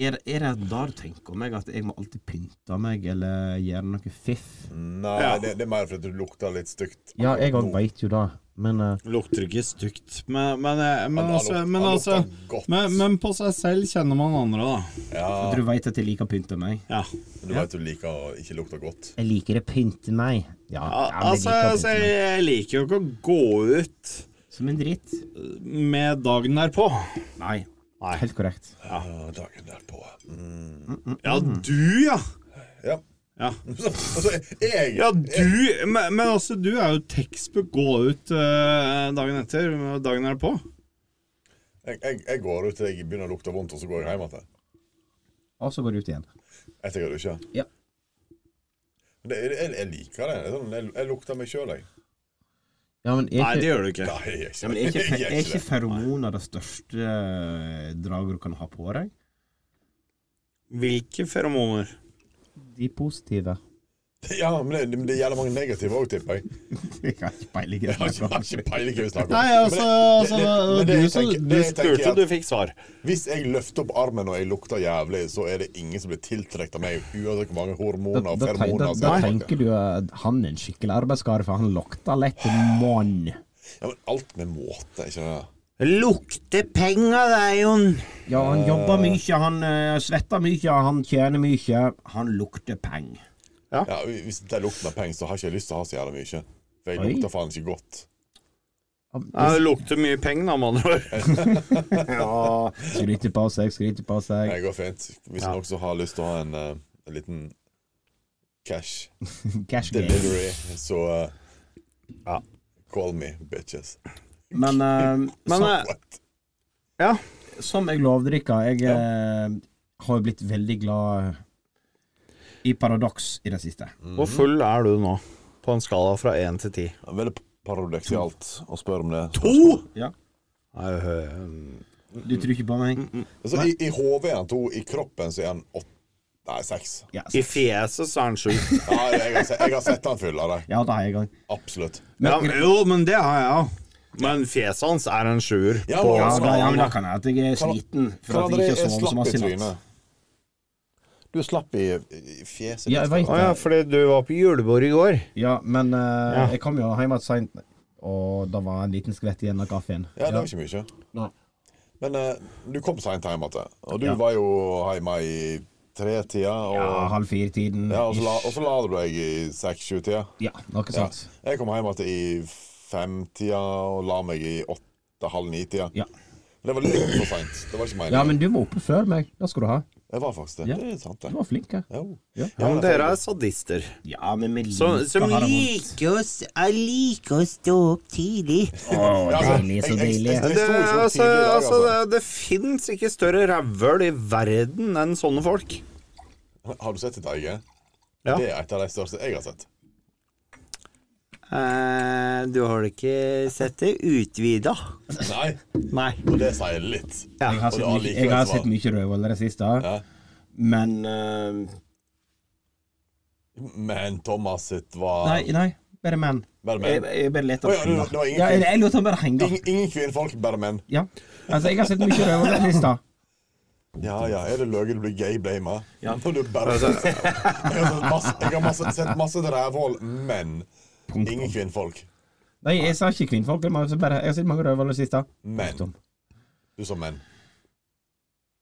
S2: Er, er det da du tenker om meg at jeg må alltid pynte meg eller gjøre noe fiff?
S4: Nei,
S5: Ja.
S4: det, det er mer fordi du lukter litt stygt.
S2: Ja, jeg òg
S4: Nå-
S2: veit jo det, men eh,
S5: Lukter ikke stygt, men, men, eh, men
S4: Han- han
S5: altså,
S4: lukter-
S5: men,
S4: han
S5: altså
S4: lukter godt.
S5: men, men på seg selv kjenner man andre, da.
S4: Ja,
S2: Du veit at jeg liker å pynte meg?
S5: Ja.
S4: du vet du liker å ikke lukte godt.
S2: Jeg liker å pynte meg. Ja, ja, men jeg
S5: Altså,
S2: liker å
S5: altså,
S2: pynte meg.
S5: jeg liker jo ikke å gå ut
S2: Som en dritt.
S5: med dagen derpå.
S2: Nei. Helt korrekt.
S4: Ja. Ah, Dagen derpå. Mm.
S5: Ja, du, ja.
S4: Ja.
S5: Ja.
S4: altså, jeg
S5: Ja, du Men, men altså, du er jo tekstbook gå ut eh, dagen etter, og dagen er på.
S4: Jeg, jeg, jeg går ut til jeg begynner å lukte vondt, og så går jeg hjem igjen.
S2: Og så går du ut igjen.
S4: Jeg tenker det ikke.
S2: Ja.
S4: Men Det, jeg, jeg liker det. Det er sånn, Jeg, jeg lukter meg sjøl, jeg.
S2: Ja, men er
S5: Nei, det
S2: ikke,
S5: gjør du ikke.
S4: Nei, jeg gjør ikke
S2: ja, men
S4: det.
S2: er ikke,
S4: Jeg gjør
S2: er ikke
S4: det.
S2: feromoner det største eh, draget du kan ha på deg?
S5: Hvilke feromoner?
S2: De positive.
S4: Ja, men det, men det gjelder mange negative òg, tipper jeg.
S2: Jeg har ikke peiling. i
S4: Jeg har
S2: det.
S4: ikke, jeg har ikke peiling hva vi snakker om.
S5: Nei, altså,
S4: Men det- det- det- men det
S5: altså Du,
S4: jeg
S5: som-
S4: tenker-
S5: du
S4: det jeg tenker er
S5: spurte,
S4: at-
S5: du fikk svar.
S4: Hvis jeg løfter opp armen og jeg lukter jævlig, så er det ingen som blir tiltrukket av meg, uansett hvor mange
S2: Da,
S4: hormoner
S2: da,
S4: og
S2: da, da,
S4: feromoner altså.
S2: da
S4: som er bak det.
S2: tenker du at han er en skikkelig arbeidskar, for han lukter lett mann.
S4: Ja, men alt med måte, ikke det?
S5: Lukter penga deg, Jon.
S2: Ja, han jobber mye, han eh, svetter mye, han tjener mye. Han lukter penger.
S4: Ja, hvis det lukter penger, så har ikke jeg lyst til å ha så jævla mye. For jeg
S2: Oi.
S4: lukter faen ikke godt.
S5: Ja, det lukter mye penger, da, med andre ord.
S2: Ja, skryter på seg, skryter på seg.
S4: Det går fint. Hvis noen som har lyst til å ha en, eh, en liten cash
S2: Cash game.
S4: delivery, så eh, Call me, bitches.
S2: Men, eh,
S5: Men
S2: som,
S5: eh,
S4: What?
S5: ja.
S2: som jeg lovde dere, jeg eh, har jo blitt veldig glad i Paradox i det siste.
S4: Mm.
S5: Hvor full er du nå? På en skala fra én til ti.
S4: Det er Veldig paradoksalt å spørre om det.
S2: Ja.
S5: Nei, hø- mm.
S2: Du tror ikke på meg?
S4: Altså, I i hodet er han to, i kroppen så er han åtte Nei, seks.
S2: Ja,
S5: I
S2: så,
S5: fjeset så er den sju.
S4: Ja, jeg, har, se- jeg har sett han fylle det.
S2: ja da er jeg i gang.
S4: Absolutt.
S5: Ja, men- jo, men det har jeg òg. Men fjeset hans er en sjuer.
S4: Ja,
S5: på-
S4: men-
S2: Ja, da, ja, men da kan jeg at jeg er
S4: Kan-
S2: sliten for
S4: Hva
S2: at jeg
S4: hadde det
S2: ikke
S4: jeg
S2: sover så
S4: slapp
S2: masse
S4: i
S2: i natt.
S4: trynet? Du slapp i, i fjeset.
S2: Ja, jeg
S5: Å
S2: vet det.
S5: ja, fordi du var på julebord i går.
S2: Ja, men eh, jeg kom jo hjem igjen seint, og det var en liten skvett igjen av kaffen.
S4: Ja, det var ikke mye.
S2: Nei.
S4: Men eh, du kom seint hjem igjen, og du
S2: Ja.
S4: var jo hjemme i tretida. Og,
S2: Ja,
S4: ja,
S2: halv fire-tiden.
S4: og, så la, og så la du deg i seks-sju-tida.
S2: Ja, noe sånt.
S4: Jeg kom hjem igjen i femtida og la meg i åtte-halv ni-tida.
S2: Ja.
S4: Men Det var litt for seint. Det var ikke
S2: Ja,
S4: meningen.
S2: men du var oppe før meg. Det skal du ha.
S4: Jeg var faktisk det.
S2: Ja.
S4: Det er sant,
S2: Du
S4: det.
S2: var flink, ja.
S4: Jo.
S2: Ja.
S4: Ja,
S5: Ja, men
S4: det er
S5: dere
S4: sant,
S5: er sadister.
S2: Ja, men vi
S5: Som, som
S2: å ha det vondt.
S5: liker å s- Jeg liker å stå opp tidlig.
S2: Å,
S4: Ja, altså,
S2: deilig, så
S4: jeg- jeg-
S2: deilig.
S4: jeg-
S5: Det,
S4: sto jo så
S5: altså,
S4: tidlig i dag,
S5: altså, det,
S4: altså.
S5: det fins ikke større rævhøl i verden enn sånne folk.
S4: det. Har du sett ditt eget?
S5: Ja.
S4: Det er et av de største jeg har sett.
S5: Eh, du har det ikke sett det utvida?
S4: Nei,
S5: Nei.
S4: og det sier litt.
S2: Jeg har sett
S4: Og
S2: mye,
S4: allikevel
S2: jeg har
S4: så var-
S2: sett mye rødhål i det siste,
S4: Ja.
S2: men eh,
S4: Men Thomas sitt var
S2: Nei, nei, bare menn.
S4: Bare
S2: Jeg,
S4: menn.
S2: jeg bare leter
S4: Å, ja,
S2: etter
S4: det var- det var
S2: henger.
S4: ingen
S2: Ja, jeg,
S4: kvinner.
S2: jeg lot han bare henge.
S4: Ingen, ingen kvinnfolk, bare menn.
S2: Ja. Altså, jeg har sett mye rødhål i det siste.
S4: Ja ja, er det løgn du blir gay-blama? Når du bare
S2: Altså-
S4: jeg, har sett masse, jeg har masse, sett masse rævhål, men
S2: Punkt.
S4: ingen kvinnfolk.
S2: Nei, jeg sa ikke kvinnfolk. Jeg, må også bare, jeg har sett mange rødhål i det siste.
S4: Men.
S2: Punktum.
S4: Du sa menn.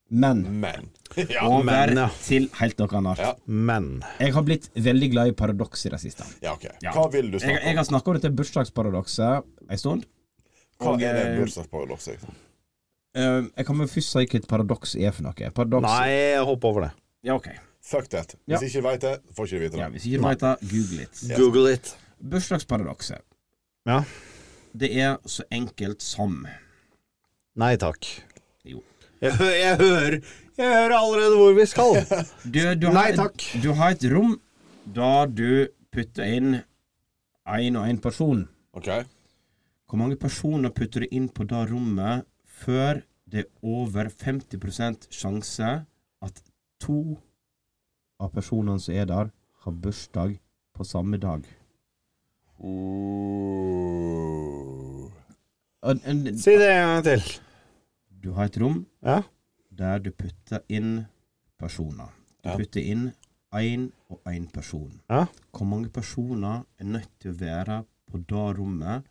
S2: Men
S4: Men. Ja,
S5: men,
S2: over
S5: ja.
S2: til helt noe annet.
S4: Ja.
S5: Men
S2: Jeg har blitt veldig glad i paradoks i det siste.
S4: ja OK.
S2: Ja.
S4: Hva vil du
S2: Jeg,
S4: snakke
S2: jeg
S4: om?
S2: har snakka om dette bursdagsparadokset en stund.
S4: Hva
S2: og,
S4: er det
S2: eh,
S4: bursdagsparadokset?
S2: Eh, jeg kan vel først si hva et paradoks er for noe. Paradoks
S5: Nei, hopp over det.
S2: Ja, ok.
S4: Fuck that.
S2: Ja.
S4: Hvis ikke du veit det, får ikke du vite
S2: Ja,
S4: det.
S2: hvis ikke du vet det, google litt.
S5: Google it.
S2: Bursdagsparadokset.
S5: Ja.
S2: Det er så enkelt som
S5: Nei takk.
S2: Jo.
S5: Jeg, hø- jeg hører Jeg hører allerede hvor vi skal.
S2: du, du
S5: Nei
S2: har,
S5: takk.
S2: Du har et rom der du putter inn én og én person.
S4: OK?
S2: Hvor mange personer putter du inn på det rommet før det er over 50 sjanse at to av personene som er der, har bursdag på samme dag?
S4: Uh.
S2: Og- en-
S5: Si det en gang til.
S2: Du har et rom
S5: Ja.
S2: der du putter inn personer. Du
S4: Ja.
S2: putter inn én og én person.
S5: Ja.
S2: Hvor mange personer er nødt til å være på det rommet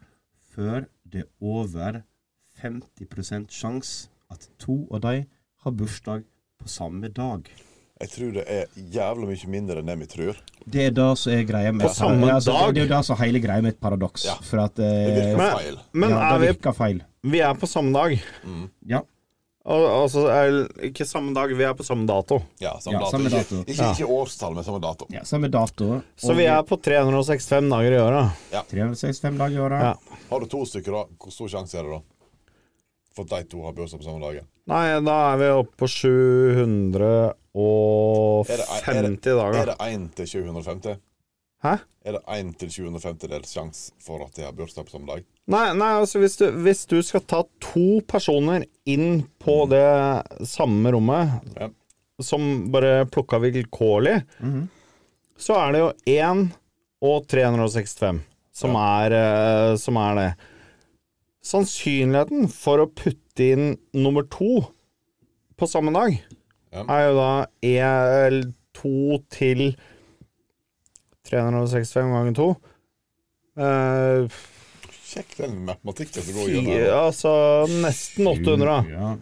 S2: før det er over 50 sjanse at to av de har bursdag på samme dag?
S4: Jeg tror det er jævlig mye mindre enn det vi tror.
S2: Det er det som er greia med
S5: På samme
S2: Ja, altså,
S5: dag?
S2: Det er jo det som er hele greia med et paradoks.
S4: Ja.
S2: For at
S4: Det
S2: eh,
S4: virker
S5: Men-
S4: feil.
S5: Men
S2: ja,
S5: er
S2: det
S5: vi,
S2: virker feil.
S5: vi er på samme dag.
S2: Ja.
S5: Al- Altså er- ikke samme dag, vi er på samme dato.
S4: Ja, samme
S2: Ja,
S4: dato.
S2: samme dato.
S4: Ikke, ikke, ikke årstall, men samme dato.
S2: ja samme dato.
S5: Så vi er på 365 dager i året.
S2: 365 dager i året.
S5: Ja.
S4: Har du to stykker, da, hvor stor sjanse er det da? For at de to har bursdag på samme dagen?
S5: Nei, da er vi oppe på 750
S4: Er det, er, er,
S5: dager.
S4: er det 1 til 750?
S5: Hæ?
S4: Er det 1 til 750 dels sjanse for at de har bursdag på samme dag?
S5: Nei, nei altså hvis du, hvis du skal ta to personer inn på det samme rommet,
S4: Mm. Ja. Mm-hmm.
S5: som bare plukka vilkårlig, så er det jo 1 og 365 som, er, eh, som er det. Sannsynligheten for å putte inn nummer to på samme dag
S4: Ja.
S5: er jo da en- to til 365 ganger to. Eh,
S4: Sjekk den matematikken som går gjennom. her,
S5: Fire,
S4: da.
S5: altså nesten 800. da.
S2: Ja.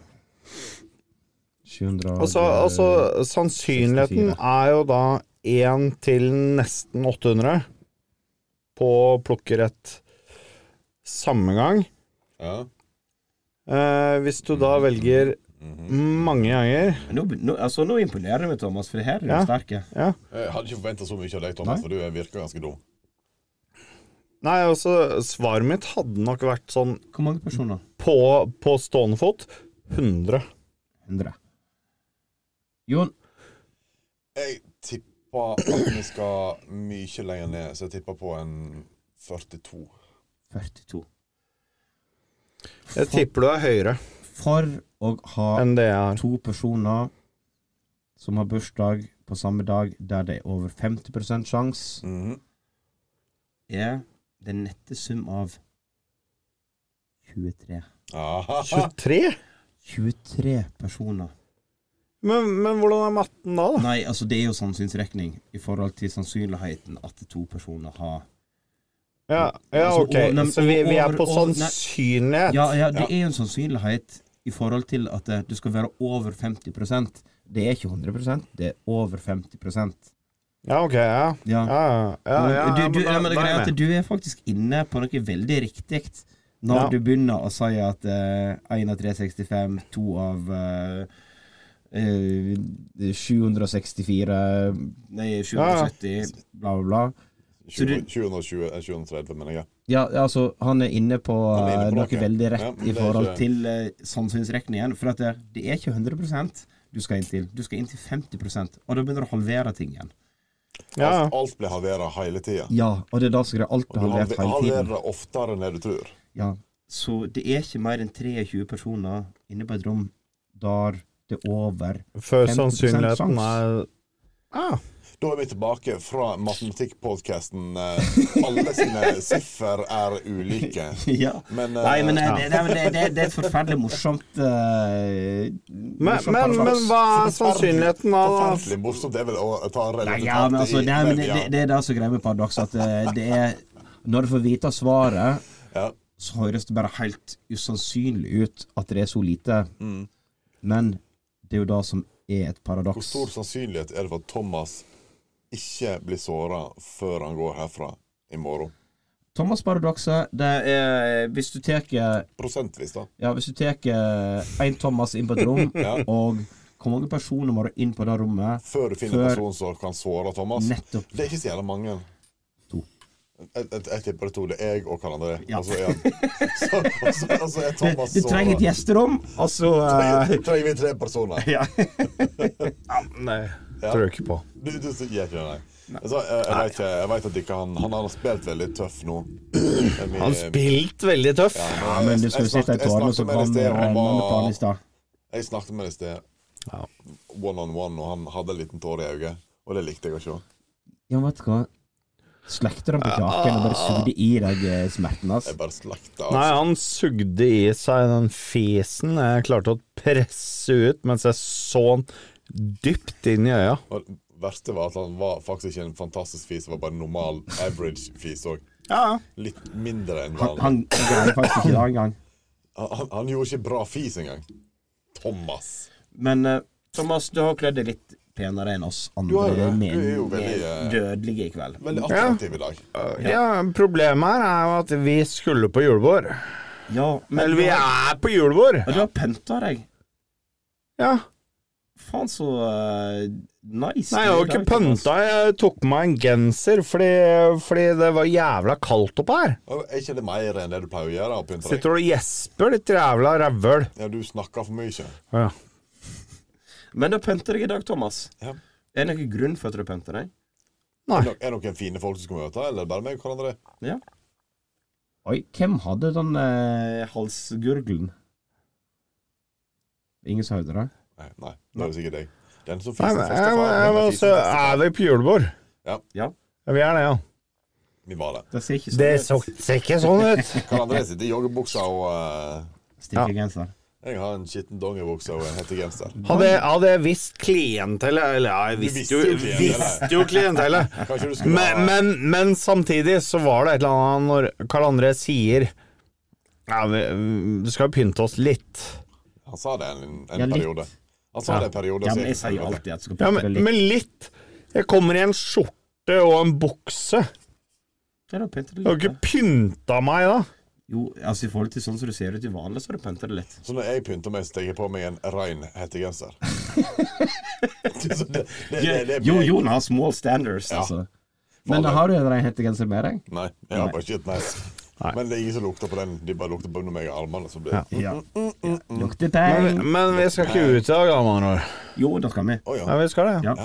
S2: 700
S5: Altså, altså sannsynligheten
S2: 64.
S5: er jo da 1 til nesten 800 på å plukke rett samme gang.
S4: Ja.
S5: Eh, hvis du da velger mange ganger
S2: Men Nå, nå, altså, nå imponerer du meg, Thomas, for det her er du
S5: Ja.
S2: sterke.
S5: ja.
S4: Jeg hadde ikke forventa så mye av deg, Thomas,
S2: Nei.
S4: for du virker ganske dum.
S5: Nei, altså, svaret mitt hadde nok vært sånn
S2: Hvor mange personer?
S5: på, på stående fot 100.
S2: 100. Jon,
S4: Jeg tippa at vi skal mye lenger ned, så jeg tippa på en 42.
S2: 42.
S5: Jeg tipper du er høyere
S2: For å ha
S5: enn det jeg er.
S2: to personer som har bursdag på samme dag der det er over 50 sjanse,
S4: Mhm.
S2: er den nette sum av 23.
S4: Aha.
S5: 23?
S2: 23 personer.
S5: Men, men hvordan er matten da? da?
S2: Nei, altså det er jo sannsynnsrekning i forhold til sannsynligheten at to personer har
S5: Ja, ja
S2: Altså,
S5: ok.
S2: over- nei, men
S5: så vi, vi er
S2: over-
S5: på sånn
S2: over- nei.
S5: sannsynlighet.
S2: Ja, ja, det er jo en sannsynlighet i forhold til at eh, det, det skal være over 50 Det er ikke 100 det er over 50
S5: Ja, ok. Ja,
S2: Ja.
S5: ja, ja.
S2: Og
S5: ja,
S2: du,
S5: ja,
S2: du,
S5: men da-
S2: ja, men det
S5: da
S2: greia er
S5: er jeg
S2: at
S5: med.
S2: du er faktisk inne på noe veldig riktig når
S5: Ja.
S2: du begynner å si at eh, 1 av 365, 2 av eh, eh, 764 Nei, 770, bla, bla, bla.
S4: 20, 2020, eh, 2030, mener jeg.
S2: Ja, altså, han er inne på, eh,
S4: Han er inne på
S2: noe
S4: noe.
S2: veldig
S4: Ja,
S2: rett
S4: men
S2: i
S4: det er
S2: forhold
S4: ikke-
S2: til uh, sannsynnsrekningen. For at det, det er ikke 100 du skal inn til. Du skal inn til 50 og da begynner du å halvere ting igjen.
S5: Ja.
S4: Alt, alt blir halvert hele tida.
S2: Ja, og det er da som er alt
S4: Du
S2: blir halvert hele
S4: halverer
S2: tiden.
S4: det oftere enn det du tror.
S2: Ja. Så det er ikke mer enn 23 personer inne på et rom der det er over
S5: Før
S2: 50%
S5: sannsynligheten er
S2: sjanse.
S5: ah,
S4: Da er vi tilbake fra matematikkpodkasten. eh, Alle sine siffer er ulike.
S2: Ja.
S4: Men, eh,
S2: Nei, men eh, det, det, er- det, det, det er et forferdelig morsomt eh,
S5: men,
S2: morsomt
S5: men, men
S2: paradoks.
S5: hva er sannsynligheten da? da?
S4: Forferdelig morsomt det er vel å ta
S2: Nei, ja, men altså, nei, men det, det, det er det som er greia med paradoks, at eh, det er Når du får vite svaret,
S4: Ja.
S2: så høres det bare helt usannsynlig ut at det er så lite.
S4: Mm.
S2: Men det er jo det som er et
S4: Hvor
S2: paradoks.
S4: stor sannsynlighet er det for at Thomas ikke blir såra før han går herfra i morgen?
S2: Thomas-paradokset, det er hvis du tar ja,
S4: Prosentvis, da.
S2: Hvis du tar én Thomas inn på et rom, og hvor mange personer må du inn på det rommet?
S4: Før du finner en
S2: Før-
S4: person som kan såre Thomas.
S2: Nettopp.
S4: Det er ikke så jævla mange.
S2: To.
S4: Jeg, jeg, jeg tipper det er to. Det er jeg og Karl André.
S2: Ja.
S4: Og så er, han- så, og så, og så er
S2: Du,
S4: Thomas
S2: du trenger et
S4: såret.
S2: gjesterom, og så eh,
S4: Trenger- Trenger vi tre personer?
S2: ja.
S5: Nei,
S4: Ja.
S5: tror jeg ikke på.
S4: Du, du sier ikke det, nei. Altså, jeg, jeg, vet ikke, jeg vet at ikke han Han har spilt veldig tøff nå. Men vi-
S5: Han spilt veldig tøff.
S2: ja, men du skal
S4: jeg
S2: jo sitte i
S4: snakket- jeg
S2: tårnet,
S4: snakket
S2: så eh,
S4: med deg i
S2: kom
S4: sted,
S2: det
S4: og han
S2: rennende på
S4: var-
S2: han i stad.
S4: Jeg snakket med deg i sted, one on one, og han hadde en liten tåre i øyet. Og det likte jeg å se.
S2: Ja, men vet du hva? Slekter den på kraken og bare suger i deg eh, smerten, ass.
S4: Jeg bare slakta.
S5: Nei,
S4: Altså.
S5: han sugde i seg den fesen jeg klarte å presse ut mens jeg så han dypt inn i øya.
S4: Og det verste var at han var faktisk ikke en fantastisk fis, det var bare en normal average fis òg. Litt mindre enn hva
S2: Han,
S4: han,
S2: han greier faktisk ikke det engang.
S4: han Han gjorde ikke bra fis engang. Thomas.
S2: Men eh, Thomas, du har kledd deg litt penere enn oss
S4: Du har jo
S2: andre
S4: det.
S2: men
S4: Du er jo veldig, eh,
S2: dødelige i kveld.
S4: Veldig attraktiv i dag.
S5: Ja, problemet her er jo at vi skulle på julebord.
S2: Ja, men
S5: Eller vi er på julebord!
S2: Og du har pynta deg.
S5: Ja.
S2: Faen, så eh, nice.
S5: Nei, jeg har jo
S2: du er i
S5: ikke
S2: dag, Thomas.
S5: pynta. Jeg tok på meg en genser fordi, fordi det var jævla kaldt oppe her.
S4: Og Er ikke det mer enn det du pleier å gjøre? å pynte deg?
S5: Sitter du og gjesper, ditt jævla rævhøl?
S4: Ja, du snakker for mye.
S5: Ja.
S2: Men du har pynta deg i dag, Thomas.
S4: Ja.
S2: Er det noen grunn for at du har pynta deg?
S5: Nei.
S4: Er det er det noen fine folk du skal møte, eller er det bare meg og hverandre?
S2: Ja. Oi, hvem hadde den eh, halsgurgelen? Ingen som hørte det?
S4: Nei, nei, det er det sikkert deg. Den som
S5: Nei,
S4: fiser
S5: men
S4: først
S5: jeg,
S4: er
S5: må-
S4: faren,
S5: jeg,
S4: den
S5: må
S4: som
S5: også,
S4: fiser mest er
S5: er vi på julebord?
S4: Ja.
S2: Ja.
S5: Vi er det, ja.
S4: faren. Vi var det.
S2: Det ser ikke
S5: Det
S2: sånn ut.
S5: så, ser ikke sånn ut.
S4: Karl André sitter i joggebuksa, og eh,
S2: Stikker genser.
S4: jeg har en skitten dongeribukse og en hettegenser.
S5: Hadde, hadde jeg visst klientellet Eller ja, jeg visste
S4: Du visste jo
S5: jo,
S4: klientellet.
S5: visste jo klientellet.
S4: Kanskje du skulle
S5: Men, men, men samtidig så var det et eller annet når Karl André sier ja, vi, vi skal jo pynte oss litt.
S4: Han sa det en, en
S2: Ja, litt.
S4: periode. Han sa det en periode.
S2: Ja,
S4: så
S2: men jeg
S4: gikk det
S2: sier jo
S4: helvete.
S2: alltid at du skal
S5: Ja,
S2: pynte
S5: men,
S2: deg litt.
S5: men litt. Jeg kommer i en skjorte og en bukse.
S2: Ja, da pynter du
S5: Jeg har
S2: litt.
S5: jo ikke pynta meg da.
S2: da. Jo, altså i forhold til sånn som du ser ut til vanlig, så har du pynta deg litt.
S4: Så når jeg pynter meg, så tar jeg på meg en rein hettegenser. Så det, det, det, det er
S2: Jo,
S4: meg.
S2: Jon har small standards,
S4: Ja.
S2: altså. Men har du en ren hettegenser med deg?
S4: Nei, jeg har bare ikke et nes. Men det er ingen som lukter på den. De bare lukter på når jeg har armene. Så blir det
S2: Ja.
S4: mm.
S2: Lukter
S5: Men,
S2: tegn.
S5: men vi skal ikke ut i dag, da, med andre ord.
S2: Jo, da skal vi.
S4: Å ja.
S5: Nei, vi skal det.
S2: Ja.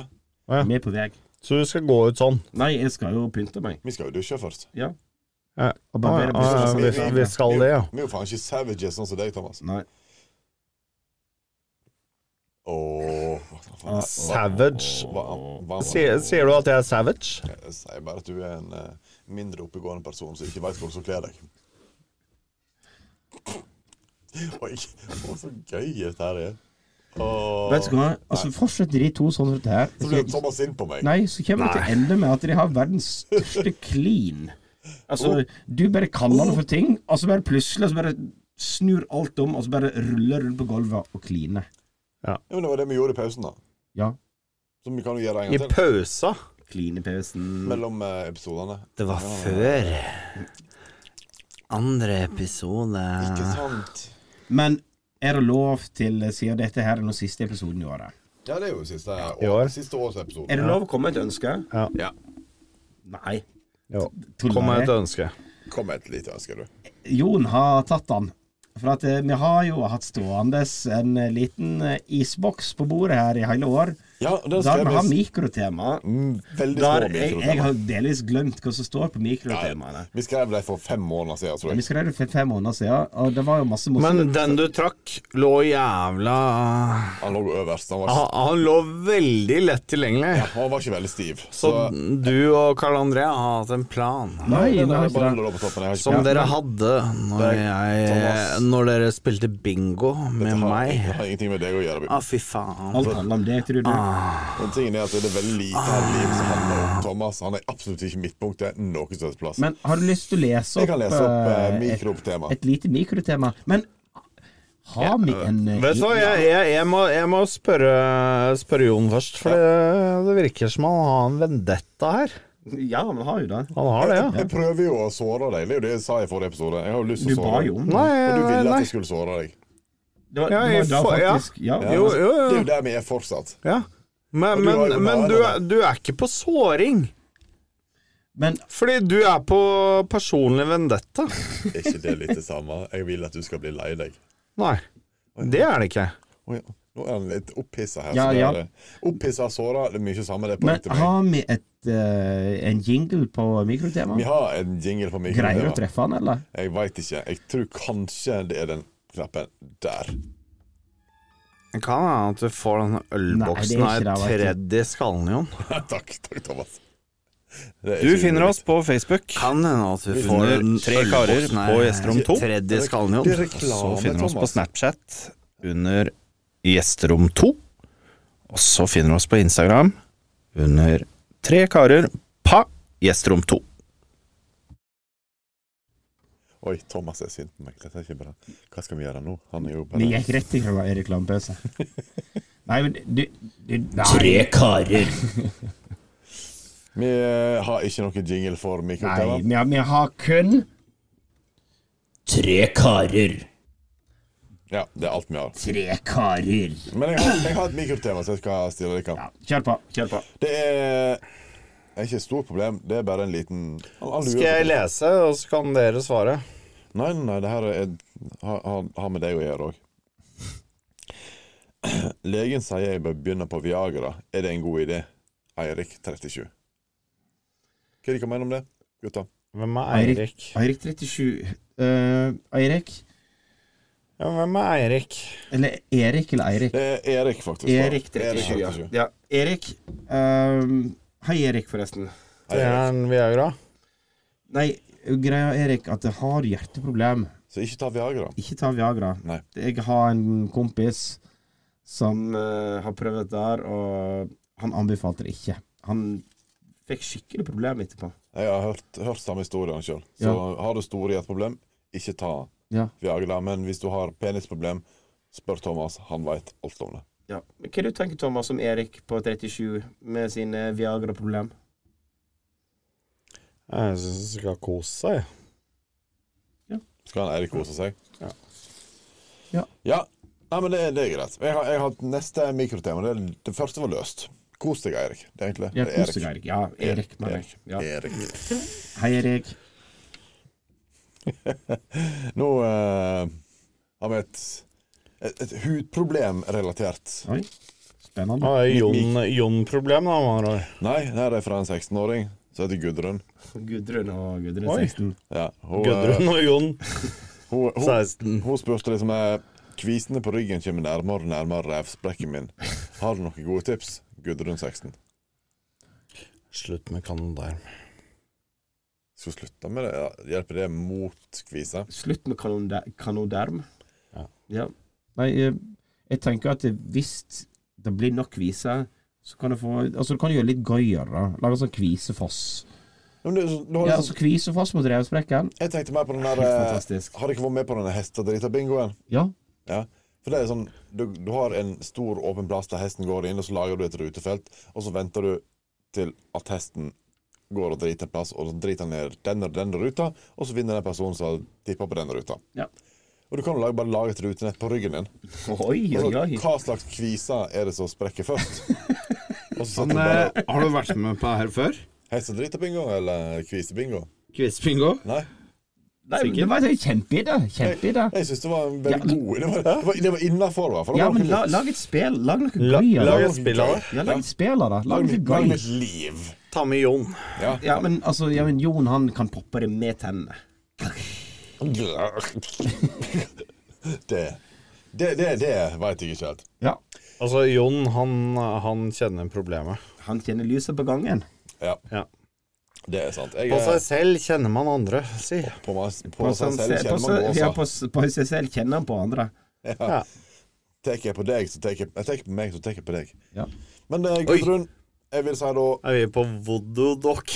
S5: Ja.
S2: Vi er på vei.
S5: Så du skal gå ut sånn.
S2: Nei, jeg skal jo pynte meg.
S4: Vi skal jo dusje først.
S2: Ja.
S5: Ja.
S2: Og barbere
S5: Ja, ja,
S2: bussen.
S5: vi, vi skal det, ja.
S4: Vi er jo faen ikke savages sånn som deg, Thomas.
S2: Nei.
S4: Åh, hva faen?
S5: Savage.
S4: Hva, hva,
S5: Sier, sier du at jeg er savage?
S4: Jeg sier bare at du er en eh, mindre oppegående person som ikke veit hvordan du kler deg. Oi, å, så gøy dette her er. Åh.
S2: Vet du hva? Altså, fortsetter de to sånn som dette her
S4: Så blir Thomas sint på meg.
S2: Nei, så kommer det til å ende med at de har verdens største clean. Altså, du bare kaller det for ting, og så bare plutselig så bare snur alt om, og så bare ruller rundt på gulvet og cleaner.
S4: Ja, men det var det vi gjorde i pausen, da.
S2: Ja.
S4: Så vi kan jo gjøre det en
S5: I
S4: gang til.
S5: pausa?
S2: Cleanepausen.
S4: Mellom eh, episodene.
S5: Det var før andre episode.
S4: Ikke sant?
S2: Men er det lov til, siden dette her er den siste episoden i året
S4: Ja, det er jo siste,
S7: I
S4: år,
S7: år.
S4: siste års episode.
S2: Er det lov å komme med et ønske?
S7: Ja.
S2: Nei.
S7: Jo.
S2: Tuller
S5: Kom med
S2: jeg?
S5: et ønske.
S4: Kom med et lite ønske, du.
S2: Jon har tatt den. For at eh, vi har jo hatt stående en eh, liten eh, isboks på bordet her i hele år,
S4: Ja, den
S2: der
S4: skrev
S2: vi har
S4: vi
S2: mikrotema.
S4: mm, veldig
S2: Der,
S4: små
S2: jeg, jeg
S4: mikrotema.
S2: har delvis glemt hva som står på
S4: Ja,
S2: mikrotemaene.
S4: Vi skrev det for fem måneder siden, tror
S2: Vi
S4: jeg.
S2: skrev det for fem måneder siden, og det var jo masse morsomt.
S5: Men den du trakk, lå jævla
S4: Han lå øverst. Han var, ikke-
S5: Han Ah, han lå veldig lett tilgjengelig.
S4: han var ikke veldig stiv.
S5: Så du og Karl André har hatt en plan.
S2: Nei,
S4: Den
S2: det
S4: er
S2: var
S4: bare
S2: ikke det.
S4: lå på toppen. Jeg har ikke
S5: Som dere hadde når,
S4: Det er
S5: jeg,
S4: Thomas.
S5: når dere spilte bingo med
S4: Det har-
S5: meg.
S4: Det har ingenting med deg å gjøre. Bjørn.
S5: Å, fy faen.
S2: Alt handler om det, tror du.
S4: Ah. Men tingen er at det er veldig lite her
S2: Ah.
S4: i livet som handler om Thomas. Han er absolutt ikke midtpunktet noe som helst plass.
S2: Men har du lyst til å lese
S4: Jeg
S2: opp,
S4: kan lese opp eh,
S2: eh, et,
S4: mikrotema.
S2: et lite mikrotema? Men har vi en eh,
S5: Vet du hva, jeg, jeg, jeg, må, jeg må spørre, spørre Jon først, for det, det virker som han har en vendetta her.
S2: Ja, vi har jo det.
S5: Han har det, ja.
S4: Jeg prøver jo å såre deg. Det er jo det jeg sa i forrige episode. Jeg har jo lyst
S2: Du
S4: til å
S2: ba
S4: såre
S2: jo Eh,
S4: deg.
S2: om det.
S5: Nei,
S4: Og du ville
S5: nei.
S4: at jeg skulle såre deg.
S2: Det var,
S5: Ja,
S2: det
S5: jeg
S2: var
S5: får-
S2: da
S5: ja.
S2: faktisk Ja,
S4: Ja.
S5: Jo, jo,
S4: Det er
S5: jo.
S4: jo der vi er fortsatt.
S5: Ja. Men,
S4: Og du har
S5: men,
S4: jo
S5: men
S4: nær
S5: du,
S4: deg.
S5: er, du er ikke på såring.
S2: Men
S5: Fordi du er på personlig vendetta.
S4: Er ikke det litt det samme? Jeg vil at du skal bli lei deg.
S5: Nei, det er det ikke.
S4: Å ja. Nå er han litt opphissa her.
S2: Ja,
S4: så det
S2: ja.
S4: er det. Opphissa og såra, det er mye samme. Det er
S2: Men
S4: poenget til meg.
S2: har vi et, eh, en jingle på mikrotema?
S4: Vi har en jingle på
S2: Greier du å
S4: mikrotema.
S2: treffe den, eller?
S4: Jeg veit ikke. Jeg tror kanskje det er den knappen der.
S5: Det kan hende at du får denne ølboksen
S2: Nei, det er ikke det,
S5: her
S2: vet
S5: tredd i skallen, Jon.
S4: takk, takk, Thomas. Det er
S3: Du
S4: ikke
S3: finner
S4: mulig.
S3: oss på Facebook.
S5: Kan hende at vi får
S3: Under
S5: den
S3: Tre karer
S5: ølboksen her
S3: på Gjesterom to.
S5: Tredd i skallen,
S4: Det
S5: Jon.
S4: er reklame,
S3: Så finner du oss på
S4: Thomas.
S3: Snapchat under Gjesterom 2. Og så finner du oss på Instagram under Tre karer pa Gjesterom 2.
S4: Oi, Thomas er sint på meg. Dette er ikke bra. Hva skal vi gjøre nå? Han er jo
S2: Vi
S4: bare
S2: gikk rett i rekla- i reklamepause. Nei, men du, du nei.
S8: karer.
S4: Vi eh, har ikke noen jingle for
S2: Nei,
S4: mikrotema.
S2: vi har, vi har kun
S8: Tre karer.
S4: Ja, det er alt vi har.
S2: tre karer.
S4: Men jeg har, jeg har et mikrotema som jeg skal stille dere.
S2: Ja, kjør på. kjør på
S4: Det er det er ikke et stort problem, det er bare en liten Han- han lurer
S5: Skal jeg
S4: på-
S5: lese, og så kan dere svare?
S4: Nei, nei, nei, det her er, har, har- har med deg å gjøre òg. Legen sier jeg bør begynne på Viagra. Er det en god idé? Eirik 37. Hva er det dere mener om det, gutta?
S5: Hvem er
S2: Eirik.
S5: Eirik?
S2: Eirik 37 eh, Eirik?
S5: Ja, hvem er Eirik?
S2: Eller Erik eller Eirik?
S4: Det er Erik, faktisk. da.
S2: Erik 37, ja. ja. Erik. eh, hei, Erik, forresten.
S4: Hei,
S5: Det er
S4: Erik.
S5: en Viagra.
S2: Nei, greia Erik at jeg har hjerteproblem.
S4: Så ikke ta Viagra.
S2: Ikke ta Viagra.
S4: Nei.
S2: Jeg har en kompis som eh, har prøvd dette her, og han anbefalte det ikke. Han fikk skikkelig problem etterpå.
S4: Jeg har hørt, hørt samme historien sjøl. Så har du store hjerteproblem, ikke ta
S2: Ja.
S4: Viagra. Men hvis du har penisproblem, spør Thomas. Han veit alt om det.
S2: Ja. Men hva du tenker du, Thomas, om Erik på 37 med sine Viagra-problem?
S5: Jeg syns han skal kose seg. jeg.
S4: Skal han Eirik kose seg?
S5: Ja.
S2: Ja.
S4: Ja. Nei, men det, det er greit. Jeg har, jeg har neste mikrotema. Det, det første var løst. Kos deg, Eirik. Det er egentlig
S2: Ja,
S4: det er
S2: kos deg, Erik. Ja, Erik, mener jeg. Ja.
S4: Erik. Erik.
S2: Hei, Erik.
S4: Nå eh, har vi et, et, et hudproblem relatert
S2: Oi. Spennende.
S5: Ah, det er Jon, Jon-problem, da. Man har.
S4: Nei, det her er fra en 16-åring som heter Gudrun.
S2: Gudrun og Gudrun
S5: Oi.
S2: 16.
S4: Ja, hun, eh,
S5: Gudrun og Jon
S4: Hun, hun,
S5: 16.
S4: hun spurte liksom eh, Kvisene på ryggen kommer nærmere og nærmere revsprekken min. Har du noen gode tips? Gudrun 16.
S5: Slutt med kanodarm.
S4: Skal vi slutte med det? Ja, hjelper det mot kvise?
S2: Slutt med kanonde- kanoderm.
S4: Ja.
S2: Ja. Nei, eh, jeg tenker at hvis det blir nok kviser, så kan du få Altså, du kan gjøre litt gøyere, da. Lage sånn kvisefoss.
S4: Ja, men det, er så- du
S2: Ja,
S4: har liksom-
S2: altså kvisefoss mot revsprekken.
S4: jeg tenkte mer på den der
S2: Helt
S4: eh,
S2: fantastisk.
S4: Har dere vært med på denne hestedrita-bingoen?
S2: Ja.
S4: Ja. For det er sånn du, du har en stor, åpen plass der hesten går inn, og så lager du et rutefelt, og så venter du til at hesten går og driter en plass, og så driter han ned den og den ruta, og så vinner den personen som har tippa på den ruta.
S2: Ja.
S4: Og du kan jo lage, bare lage et rutenett på ryggen din.
S2: Oi,
S4: Og
S2: oi,
S4: så,
S2: oi.
S4: hva slags kviser er det som sprekker først? og så setter du
S5: Men,
S4: bare
S5: eh, har du vært med på her før?
S4: hestedrita-bingo eller kvisebingo.
S5: Quizbingo?
S4: Nei.
S2: Nei, men det var en kjempeidé. Kjempeidé.
S4: Jeg syns det var en veldig god Det var, det var, det var innafor, i hvert fall. Det
S2: Ja,
S4: var
S2: men
S4: noe
S2: la,
S4: nytt.
S2: lag et spill. Lag noe
S5: La-
S2: gøy.
S5: lag
S2: av det.
S5: et spill av det.
S2: Ja, lag et spill av det. Lag noe
S4: Lag
S2: gøy.
S4: litt liv.
S5: Ta med Jon.
S2: Ja, men altså, ja, men Jon han kan poppe det med tennene.
S4: Det Det, det, det veit jeg ikke helt.
S2: Ja.
S5: Altså, Jon, han, han kjenner problemet.
S2: Han kjenner lyset på gangen.
S4: Ja,
S5: Ja.
S4: det er sant. Jeg
S5: På seg
S4: er
S5: selv kjenner man andre, si.
S4: på meg på seg
S2: Se-
S4: selv
S2: på
S4: kjenner man
S2: seg- ja,
S4: gåsa.
S2: på s- på seg selv kjenner han på andre.
S4: Tar jeg på deg, så tar jeg jeg tar på meg, så tar jeg på deg.
S2: Ja.
S4: Men eh, Gudrun, jeg vil si da
S5: Er vi på voodoo-dokk?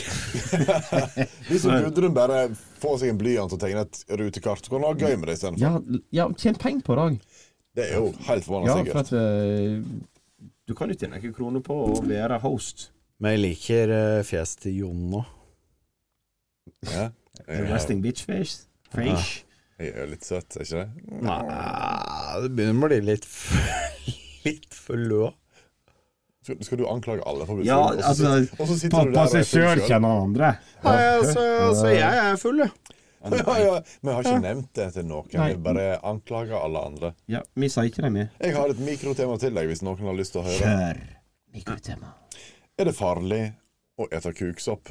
S4: Hvis Gudrun bare får seg en blyant og tegner et rutekart, så kan hun ha gøy med det istedenfor.
S2: Ja, l- ja tjen penger på det òg.
S4: Det er jo helt forbanna
S2: Ja, for
S4: sikkert.
S2: at eh, Du kan jo tjene noen kroner på å være host.
S5: Men jeg liker eh, fjes til Jon nå.
S4: Ja. Jeg
S2: Resting bitch face. Fresh.
S4: jeg er litt søt, er ikke det?
S5: Nei, det begynner å bli litt Litt for lø.
S4: Skal, skal du anklage alle for å bli
S2: Ja,
S4: full, og så
S2: altså
S4: sitter- og så sitter du der og er full selv?
S2: kjenner andre.
S5: Nei, altså, altså, jeg er full, jeg.
S4: Ja, ja. Vi har ikke nevnt det til noen.
S2: Nei.
S4: Vi bare anklager alle andre.
S2: Ja, vi sa ikke det, vi.
S4: Jeg har et mikrotema til deg, hvis noen har lyst til å høre.
S2: Kjør. Mikrotema.
S4: Er det farlig å ete kuksopp?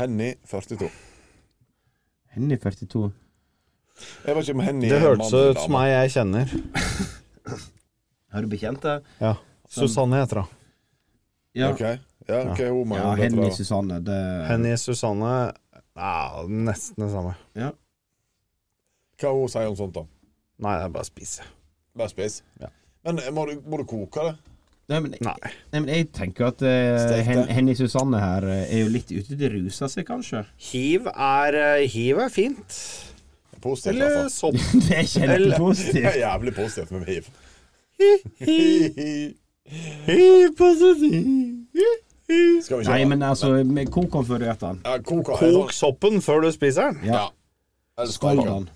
S4: Henny 42.
S2: Henny 42.
S4: Jeg vet ikke om Henny
S5: Det
S4: er en mann
S5: hørtes
S4: eller
S5: ut som
S4: dame.
S5: ei jeg kjenner.
S2: Har du bekjente?
S5: Ja. Susanne heter hun.
S2: Ja.
S4: Ok, ja, ok, hun må
S2: Ja,
S4: jo dette
S2: Henny
S4: da.
S2: Susanne. Det
S5: Henny Susanne ja, Nesten det samme.
S4: Hva hun sier hun sånt, da?
S5: Nei, det er bare å spise.
S4: Bare spis.
S5: Ja.
S4: Men eh, må du, må du koke det?
S2: Nei, men,
S5: Nei.
S2: nei, men jeg tenker at eh,
S4: Stek det.
S2: Hen Henny Susanne her eh, er jo litt ute til å ruse seg, kanskje.
S5: Hiv er, eh, hiv er fint.
S4: Positivt, i
S5: Eller sånn.
S4: hvert fall.
S5: sopp.
S2: det er
S4: Det
S2: kjempepositivt.
S4: er jævlig positivt med hiv.
S5: Hiv på sopp.
S4: Skal vi
S2: Nei,
S4: kjøre?
S2: men altså, med koken før du gjør den.
S4: Ja, koke
S5: Kok soppen før du spiser den.
S4: Ja. Eller
S2: Skål
S4: steike.
S2: den.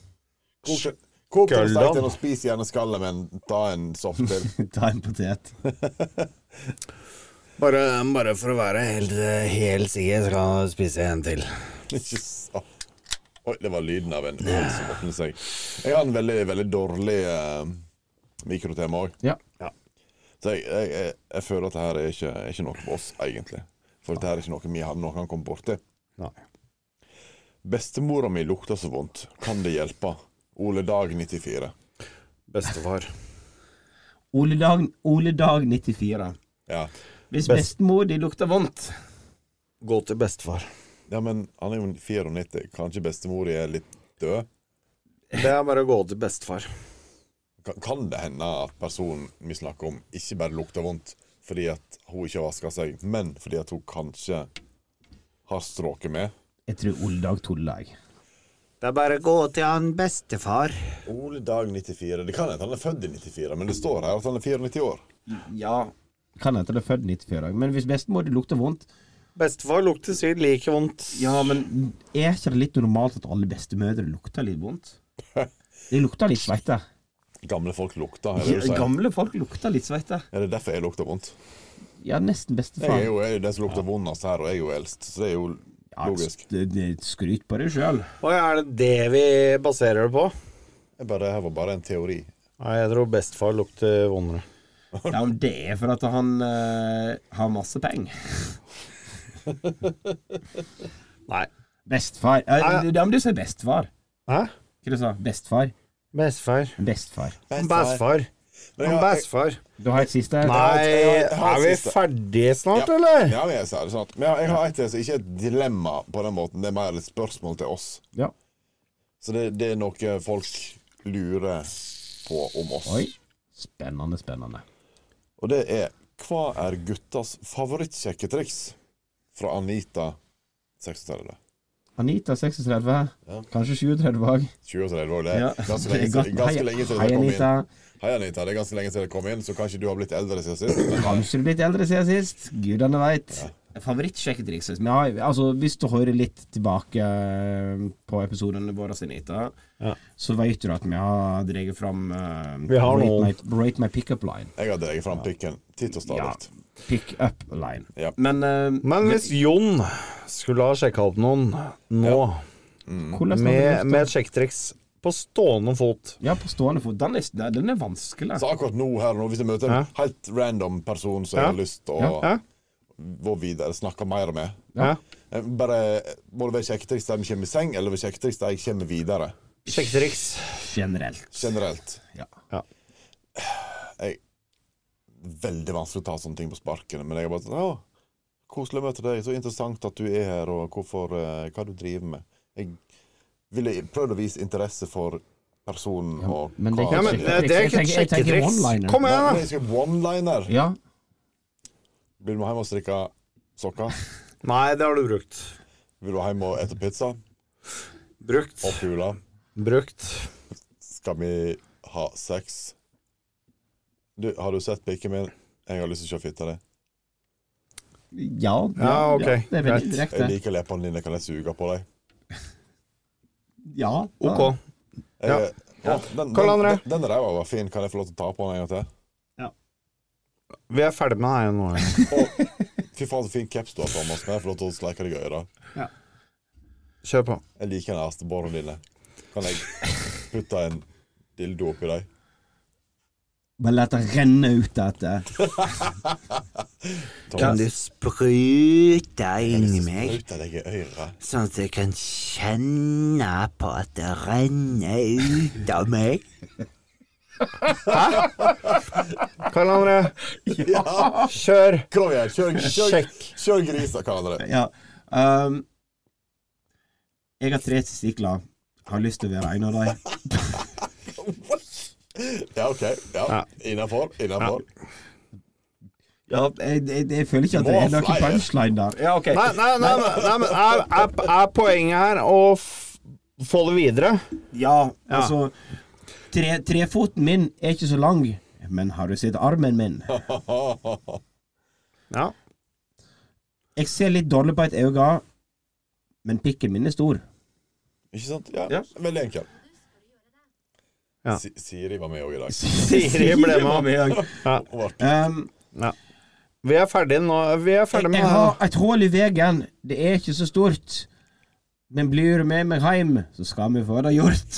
S4: Kok den. Kok den,
S5: Skål
S4: steik
S5: den.
S4: den og spis gjerne skallet, men ta en sopp til.
S2: Ta en potet.
S5: Bare, bare for å være helt, helt sikker, så kan du spise en til.
S4: Ikke sant. Oi, det var lyden av en øl som åpnet seg. Jeg har en veldig, veldig dårlig eh, mikrotema òg.
S2: Ja.
S4: Så jeg, jeg, jeg, jeg føler at det her er ikke, er ikke noe for oss, egentlig. For dette her er ikke noe vi har noen kan komme borti.
S5: Nei.
S4: Bestemora mi lukter så vondt. Kan det hjelpe? Ole Dag 94.
S5: Bestefar.
S2: Ole Dag, Ole Dag 94.
S4: Ja,
S2: Hvis bestemor di lukter vondt
S5: Gå til bestefar.
S4: ja men han er jo 94. Kan ikke bestemor er litt død?
S5: Det er bare å gå til bestefar.
S4: Kan, kan det hende at personen vi snakker om, ikke bare lukter vondt fordi at hun ikke har vaska seg, men fordi at hun kanskje har stråket med?
S2: Jeg tror Ole Dag tuller, jeg.
S5: Det er bare å gå til han bestefar.
S4: Ole Dag 94. Det kan hende han er født i 94, men det står her at han er 94 år.
S2: Ja. Kan hende det er født 94 dag, men hvis bestemor di lukter vondt
S5: Bestefar lukter sikkert like vondt.
S2: Ja, men er ikke det litt normalt at alle bestemødre lukter litt vondt? De lukter litt sveite.
S4: Gamle folk lukter, er det det du sier?
S2: Gamle folk lukter litt sveite.
S4: Er det derfor jeg lukter vondt?
S2: Ja, nesten
S4: Jeg er
S2: bestefar.
S4: jo jeg er jo den som lukter vondest her, og jeg er jo eldst, så det er jo
S2: Ja,
S4: logisk.
S2: s- det- det- Skryt på deg sjøl.
S5: Og er det det vi baserer det på?
S4: Jeg bare, det her var bare en teori.
S5: Nei, jeg tror bestefar lukter vondere.
S2: Ja, men det er for at han eh, har masse penger.
S5: Nei.
S2: Bestefar. Ja, ja, men du sier bestefar.
S5: Hæ?
S2: Hva du sa du? Bestefar?
S5: Bestefar.
S2: Bestefar.
S5: Bestefar.
S4: Men jeg, har- jeg,
S5: Bestefar.
S2: Du har et siste?
S4: har-
S5: Nei,
S4: jeg har- jeg har
S5: er vi
S4: siste.
S5: ferdige snart,
S4: Ja.
S5: eller?
S4: ja, men jeg sa det sant. Men jeg, jeg har et til som ikke er et dilemma på den måten. Det er mer et spørsmål til oss.
S2: Ja.
S4: Så det, det er noe folk lurer på om oss.
S2: Oi. Spennende, spennende.
S4: Og det er Hva er guttas favorittsjekketriks? Fra Anita 36.
S2: Anita 36,
S4: Ja.
S2: kanskje 37 bak.
S4: 37 år, det er
S2: Ja.
S4: ganske lenge, til- ganske lenge til
S2: Hei,
S4: det kom inn.
S2: Anita.
S4: Hei, Anita. Det er ganske lenge til det kom inn, så kanskje du har blitt eldre siden sist. Men
S2: Kanskje du er blitt eldre siden sist. Gudene veit. Favorittsjekketriks. Vi har- Altså, hvis du hører litt tilbake eh, på episodene våre, Anita,
S9: Ja.
S2: så vet du at vi har dratt fram eh,
S9: Vi har
S2: rate,
S9: noen.
S2: my, rate my pickup line.
S4: jeg har dreget fram pikken titt og
S2: Ja.
S4: stadig.
S2: Pick up line.
S4: Ja.
S2: Men, eh,
S5: Men hvis Jon skulle ha sjekka opp noen nå,
S2: hvordan
S5: med,
S2: har du
S5: med
S2: lyst
S5: et sjekketriks på stående fot
S2: til- Ja, på stående fot. Den er, den er vanskelig.
S4: Så altså, akkurat nå, her nå, hvis jeg møter en helt random person som jeg har lyst til å
S5: Ja.
S4: gå videre, snakke mer med
S5: ja.
S4: Eh, Bare Må det være sjekketriks der vi kommer i seng, eller være sjekketriks der jeg kommer videre?
S5: Sjekketriks.
S2: Generelt.
S4: Generelt.
S2: Ja.
S5: Ja.
S4: Jeg, veldig vanskelig å ta sånne ting på sparken, men jeg er bare sånn Å, koselig å møte deg. Så interessant at du er her, og hvorfor, eh, hva du driver med. Jeg ville prøvd å vise interesse for personen og
S2: Men det er ikke
S4: hva-
S5: Ja, men
S2: et
S5: det- det er
S2: sjekketriks.
S5: ikke
S2: Jeg tenker- jeg
S5: et
S2: tenker
S5: sjekketriks.
S2: one-liner.
S5: Kom
S4: Nei,
S5: igjen,
S4: men jeg skal one-liner.
S2: Ja.
S4: Vil du hjem og strikke sokker?
S5: da! Nei, det har du brukt.
S4: Vil du hjem og ete pizza?
S5: Brukt.
S4: Opp hula.
S5: Brukt.
S4: Skal vi ha sex? Du, har du sett pikken min? Jeg har lyst til å kjøre fitta di.
S2: Ja,
S5: Ja, ok.
S2: det er veldig direkte.
S4: Jeg liker leppene dine. Kan jeg suge på deg?
S2: Ja.
S5: Ok.
S4: Jeg,
S5: Ja.
S4: Å, den,
S5: Karl
S4: den,
S5: André?
S4: den, den ræva var fin. Kan jeg få lov til å ta på den en gang til?
S5: Vi er ferdig med det her nå. ja.
S4: Fy faen, så fin caps du har, Thomas. Kan jeg få lov til å sleike deg i øra?
S5: Kjør på.
S4: Jeg liker neseborene dine. Kan jeg putte en dildo oppi deg?
S2: Bare la det renne ut dette.
S4: Thomas,
S10: sprute
S4: jeg har
S10: inni
S4: lyst til å
S10: meg,
S4: sprute deg i øret.
S10: sånn at jeg kan kjenne på at det renner ut av meg.
S5: Karl André,
S4: Ja!
S5: kjør!
S4: Kom igjen, kjør, kjør,
S5: Sjekk.
S4: kjør grisa, Karl André.
S2: Ja. ehm, jeg har tre testikler. Har lyst til å være en av dem.
S4: Ja, OK. Ja. Innafor. Innafor.
S2: Ja, jeg, jeg, jeg føler ikke at det er noen punchline der.
S5: Ja, ok. Nei, nei, nei, nei, nei men er, er, er poenget her å f få det videre?
S2: Ja, altså tre, Trefoten min er ikke så lang, men har du sett armen min?
S5: Ja.
S2: Jeg ser litt dårlig på et øye, men pikken min er stor.
S4: Ikke sant? Ja,
S5: Ja.
S4: Veldig enkel.
S5: Ja.
S4: Si- Siri var med òg i dag.
S5: Siri ble med.
S4: Hun var
S2: Um,
S5: Vi er ferdige nå. Vi er ferdige
S2: jeg,
S5: med
S2: jeg
S5: det her.
S2: har et hull i veien. Det er ikke så stort. Men blir du med meg hjem, så skal vi få det gjort.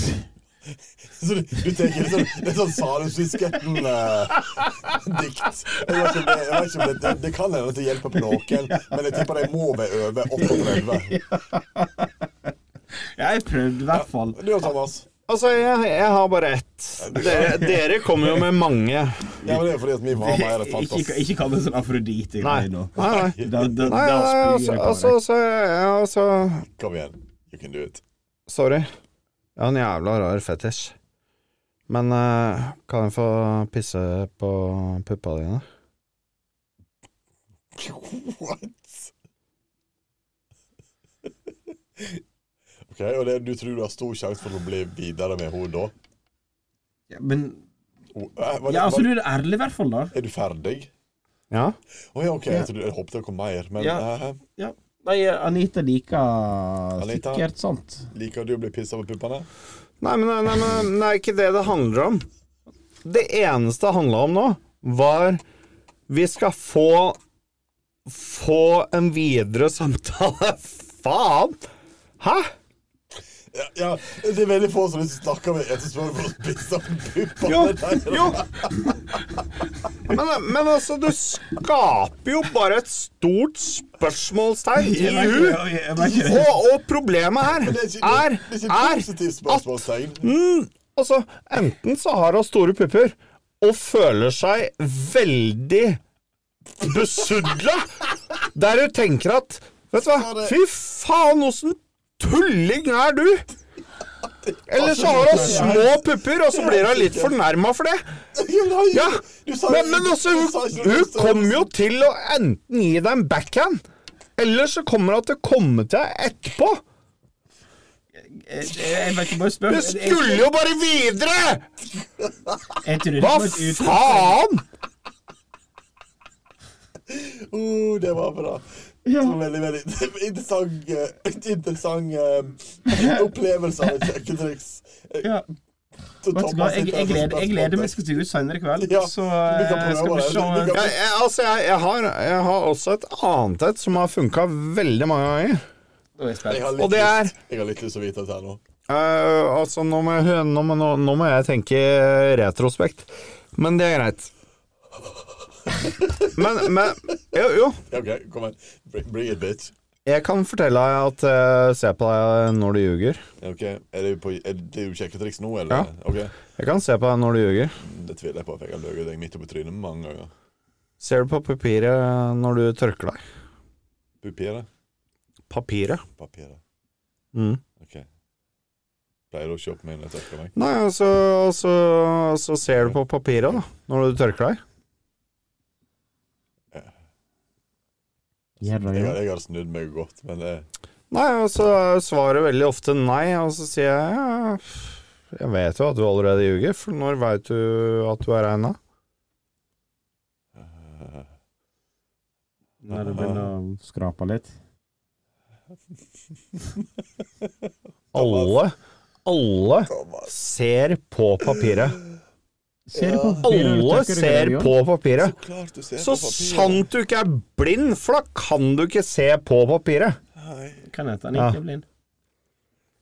S4: Så du, du tenker liksom, Det er sånn Sarus Fisketten-dikt. Jeg vet ikke om det, jeg vet ikke om det, det, det kan hende at det hjelper på noen, men jeg tipper de må være over 38.
S2: Jeg prøvde i hvert fall.
S4: Du og Thomas.
S5: Altså, jeg, jeg har bare ett. Dere, dere kommer jo med mange.
S4: Ja, men Det er fordi at vi må ha mer
S2: Ikke,
S4: fantastisk.
S2: ikke kall det sånn afrodite
S5: Nei.
S2: nå.
S5: Nei, nei.
S2: Da, da, da,
S5: Nei, nei,
S2: spyr
S5: altså,
S2: jeg på
S5: altså,
S2: deg.
S5: altså, ja, altså
S4: Kom igjen. You can do it.
S5: Sorry. Jeg har en jævla rar fetisj. Men eh, kan jeg få pisse på puppa dine?
S4: What? Ok, og det, Du tror du har stor sjanse for å bli videre med henne da?
S2: Ja, Men
S4: Hun- eh, var det-
S2: Ja, altså,
S4: var-
S2: du er ærlig i hvert fall, da.
S4: Er du ferdig?
S5: Ja?
S4: Å ja, OK. Jeg, trodde, jeg håpet det kom mer, men
S2: Ja.
S4: eh,
S2: Ja. Nei, Anita liker
S4: Anita.
S2: sikkert sant.
S4: liker du å bli pissa på puppene?
S5: Nei, men nei, nei, nei, det er ikke det det handler om. Det eneste det handla om nå, var Vi skal få Få en videre samtale. Faen! Hæ?
S4: Ja, ja, det er veldig få som liksom snakker med etter spørsmål om pizza og pupper.
S5: Jo,
S4: Der.
S5: jo. Men, men altså, du skaper jo bare et stort spørsmålstegn i huet.
S2: Jeg merker det.
S5: Og, og problemet her
S4: Det er ikke,
S5: er,
S4: det er ikke et
S5: er mm,
S4: positivt spørsmålstegn.
S5: Altså, enten så har hun store pupper, og føler seg veldig besudla. Der du tenker at Vet du hva, fy faen, åssen tulling er du? Eller så har hun små pupper, og så blir hun litt fornærma for det. Ja, men, men altså, hun, hun kommer jo til å enten gi deg en backhand, eller så kommer hun til å komme til deg etterpå.
S2: Jeg, jeg vet ikke, bare spør.
S5: Du skulle jo bare videre!
S2: Jeg tror det
S5: Hva
S2: var et uttrykk-
S5: faen?
S4: Uh, det var bra. Det var Veldig, veldig interessant, eh, interessant eh, opplevelse av et kjøkkentriks. Eh,
S2: Ja.
S4: så
S2: Vet du hva,
S4: Thomas
S2: jeg,
S4: sitter
S2: jeg,
S4: her
S2: gleder,
S4: som
S2: jeg gleder meg
S4: spørsmål.
S2: til å ut senere i kveld,
S4: Ja,
S2: så
S4: du kan
S2: eh, skal
S4: prøve
S2: vi
S4: det.
S2: se
S4: Du kan-
S5: Jeg, jeg, altså, jeg, jeg, har, jeg har også et annet et som har funka veldig mange ganger.
S2: Da er jeg spent.
S4: Jeg har litt
S5: Og det er-
S4: lyst- Jeg har litt lyst til å vite dette her nå.
S5: Eh, altså, nå må, jeg, nå, må, nå må jeg tenke retrospekt. Men det er greit. Men, men jo, jo,
S4: Ja, OK, kom igjen. Bring, bring it, bitch.
S5: jeg kan fortelle deg at eh, Se på deg når du ljuger.
S4: Ja, OK, er det, på, er det jo kjøkkentriks nå, eller?
S5: Ja.
S4: OK,
S5: Jeg kan se på deg når du ljuger.
S4: det tviler jeg på, for jeg har løyet deg midt oppi trynet mange ganger.
S5: Ser du på papiret når du tørker deg?
S4: Papiret?
S5: Papiret?
S4: Papiret.
S5: Mm.
S4: OK. Pleier du å se på meg når jeg tørker meg?
S5: Nei, altså, altså Så ser du på papiret, da, når du tørker deg.
S2: Jævla
S4: Jeg,
S2: jævla.
S4: har- jeg har snudd meg godt, men det
S5: Nei, altså er svaret veldig ofte nei, og så sier jeg ja, Jeg vet jo at du allerede ljuger, for når veit du at du er regna?
S4: eh,
S2: Når du begynner å skrape litt.
S5: Alle, alle
S4: Thomas.
S5: ser på papiret.
S2: Ser du på papiret når du
S5: Alle
S2: tørker deg,
S5: ser
S2: Jon?
S5: på
S4: Så
S5: papiret.
S4: klart du ser
S5: Så
S4: på papiret.
S5: sant du ikke er blind, for da kan du ikke se på papiret.
S4: Nei.
S2: Kan hete Anita
S5: Ja.
S2: Blind.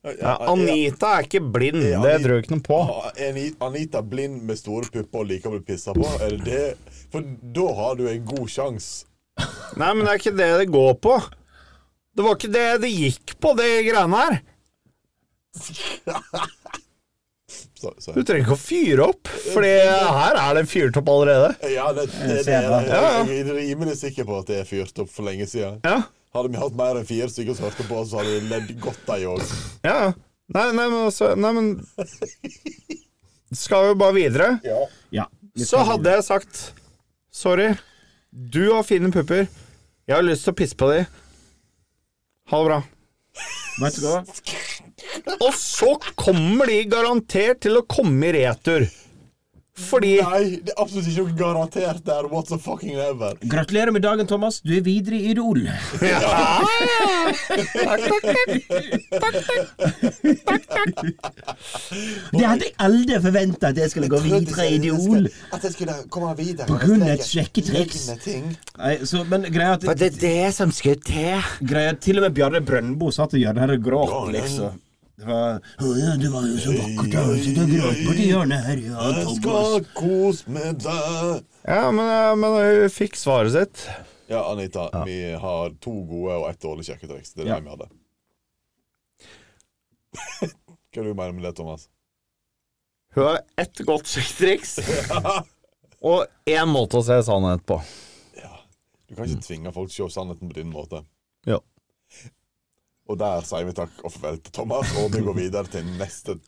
S4: Ja, ja,
S5: Ja, Anita er ikke blind, det tror jeg ikke noe på.
S4: Ja, er Ani- Anita blind med store pupper og liker å bli pissa på? Er det det? For da har du en god sjanse.
S5: Nei, men det er ikke det det går på. Det var ikke det det gikk på, det greiene her.
S4: Så- så-
S5: Du trenger ikke å fyre opp, for her er det fyrt opp allerede.
S4: Ja, det, det, det,
S2: ser det.
S4: jeg, jeg er rimelig sikker på at det er fyrt opp for lenge siden.
S5: Ja,
S4: Hadde vi hatt mer enn fire stykker som hørte på, oss, så hadde vi ledd godt, de òg.
S5: ja. ja. Nei, nei, men altså Nei, men Skal vi bare videre?
S2: Ja.
S5: Så hadde jeg sagt Sorry, du har fine pupper. Jeg har lyst til å pisse på de. Ha det bra.
S2: Vet du hva?
S5: Og så kommer de garantert til å komme i retur. Fordi
S4: Nei, det er absolutt ikke noe garantert der. What the fucking ever.
S2: Gratulerer med dagen, Thomas. Du er videre i Idol. Det hadde jeg aldri forventa at jeg skulle gå videre i Idol.
S4: At jeg skulle komme videre.
S2: På grunn av et sjekketriks.
S4: Lignende ting.
S2: Nei, så, men greia er
S11: For
S2: at
S11: det er det som skal til.
S2: greia, er at til og med Bjarne Brøndbo satt og gjorde det her og gråt, liksom. Det var, «Å ja, det var jo så vakkert, da. Så du gråt på det hjørnet her, ja,
S4: Jeg
S2: Thomas.
S4: skal kose med deg.
S5: Ja, men, eh, men hun fikk svaret sitt.
S4: Ja, Anita, vi har to gode og ett dårlig sjekketriks. Det er det
S2: Ja.
S4: vi hadde. Hva du mener du med det, Thomas?
S5: Hun har ett godt triks. Og én måte å se sannhet på.
S4: Du kan
S2: Mm.
S4: ikke tvinge folk til å se sannheten på din måte.
S5: Ja.
S4: Og der sier vi takk og farvel til Thomas, og vi går videre til neste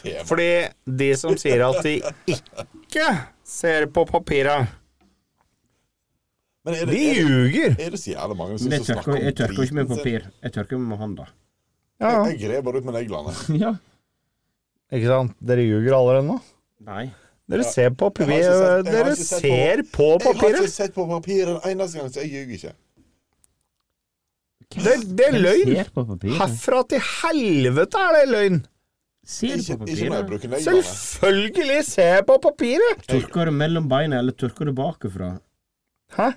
S4: tema.
S5: Fordi de som sier at de ikke ser på papiret,
S4: Men er
S5: de
S4: det, er det,
S5: ljuger.
S4: er det så jævlig mange som
S2: Men jeg
S4: som snakker
S2: tørker,
S4: om
S2: jeg tørker jo ikke med
S4: driten sin?
S2: papir. Jeg tørker med hånda.
S5: Ja, ja.
S4: Jeg grer bare ut med neglene.
S2: Ja.
S5: ikke sant? Dere ljuger allerede nå.
S2: Nei.
S5: Dere ser på
S4: Jeg
S5: papiret.
S4: har ikke sett- jeg har
S5: Dere
S4: ikke sett på-
S5: ser på
S4: Jeg har ikke
S5: papiret.
S4: sett på papiret en eneste gang, så jeg ljuger ikke.
S5: Det, det er løgn.
S2: Ser på papiret.
S5: Herfra til helvete er det løgn!
S2: Ser
S4: Ikke,
S2: på
S4: ikke når jeg
S2: papiret.
S4: bruker neglene.
S5: Selvfølgelig ser jeg på papiret!
S2: Tørker du mellom beina, eller tørker du bakifra?
S5: Hæ?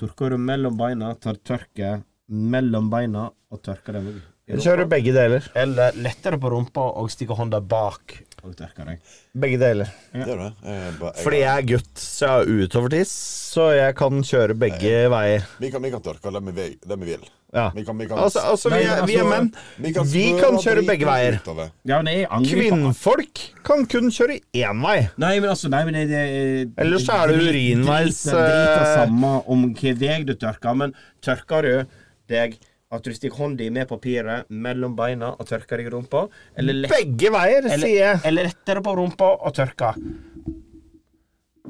S2: Tørker du mellom beina, tar tørke mellom beina og tørker dem.
S5: Jeg kjører begge deler.
S12: Eller lettere på rumpa og stikke hånda bak
S2: Håndverker, jeg.
S5: Begge deler.
S4: Gjør du det? Eh, Jeg bare- jeg-
S5: Fordi jeg er gutt, så jeg har utovertiss, så jeg kan kjøre begge veier.
S4: Vi kan, vi kan tørke det vi, vil- det vi vil.
S5: Ja.
S4: Vi kan, vi kan,
S5: Altså, altså vi, er, vi er menn. Vi
S4: spørre
S5: kan kjøre
S4: driten
S5: begge veier.
S4: ut av det.
S2: Ja, men jeg angrer på-
S5: Kvinnfolk kan kun kjøre én vei.
S2: Nei, men altså, nei, men det, det,
S5: Ellers så er det urinveis,
S2: Det driter
S5: eh,
S2: samme om hvilken vei du tørker, men tørker du deg at du stikker hånda di med papiret mellom beina og tørker deg i rumpa, eller, lett,
S5: Begge veier, sier
S2: eller,
S5: jeg.
S2: eller lettere på rumpa og tørker?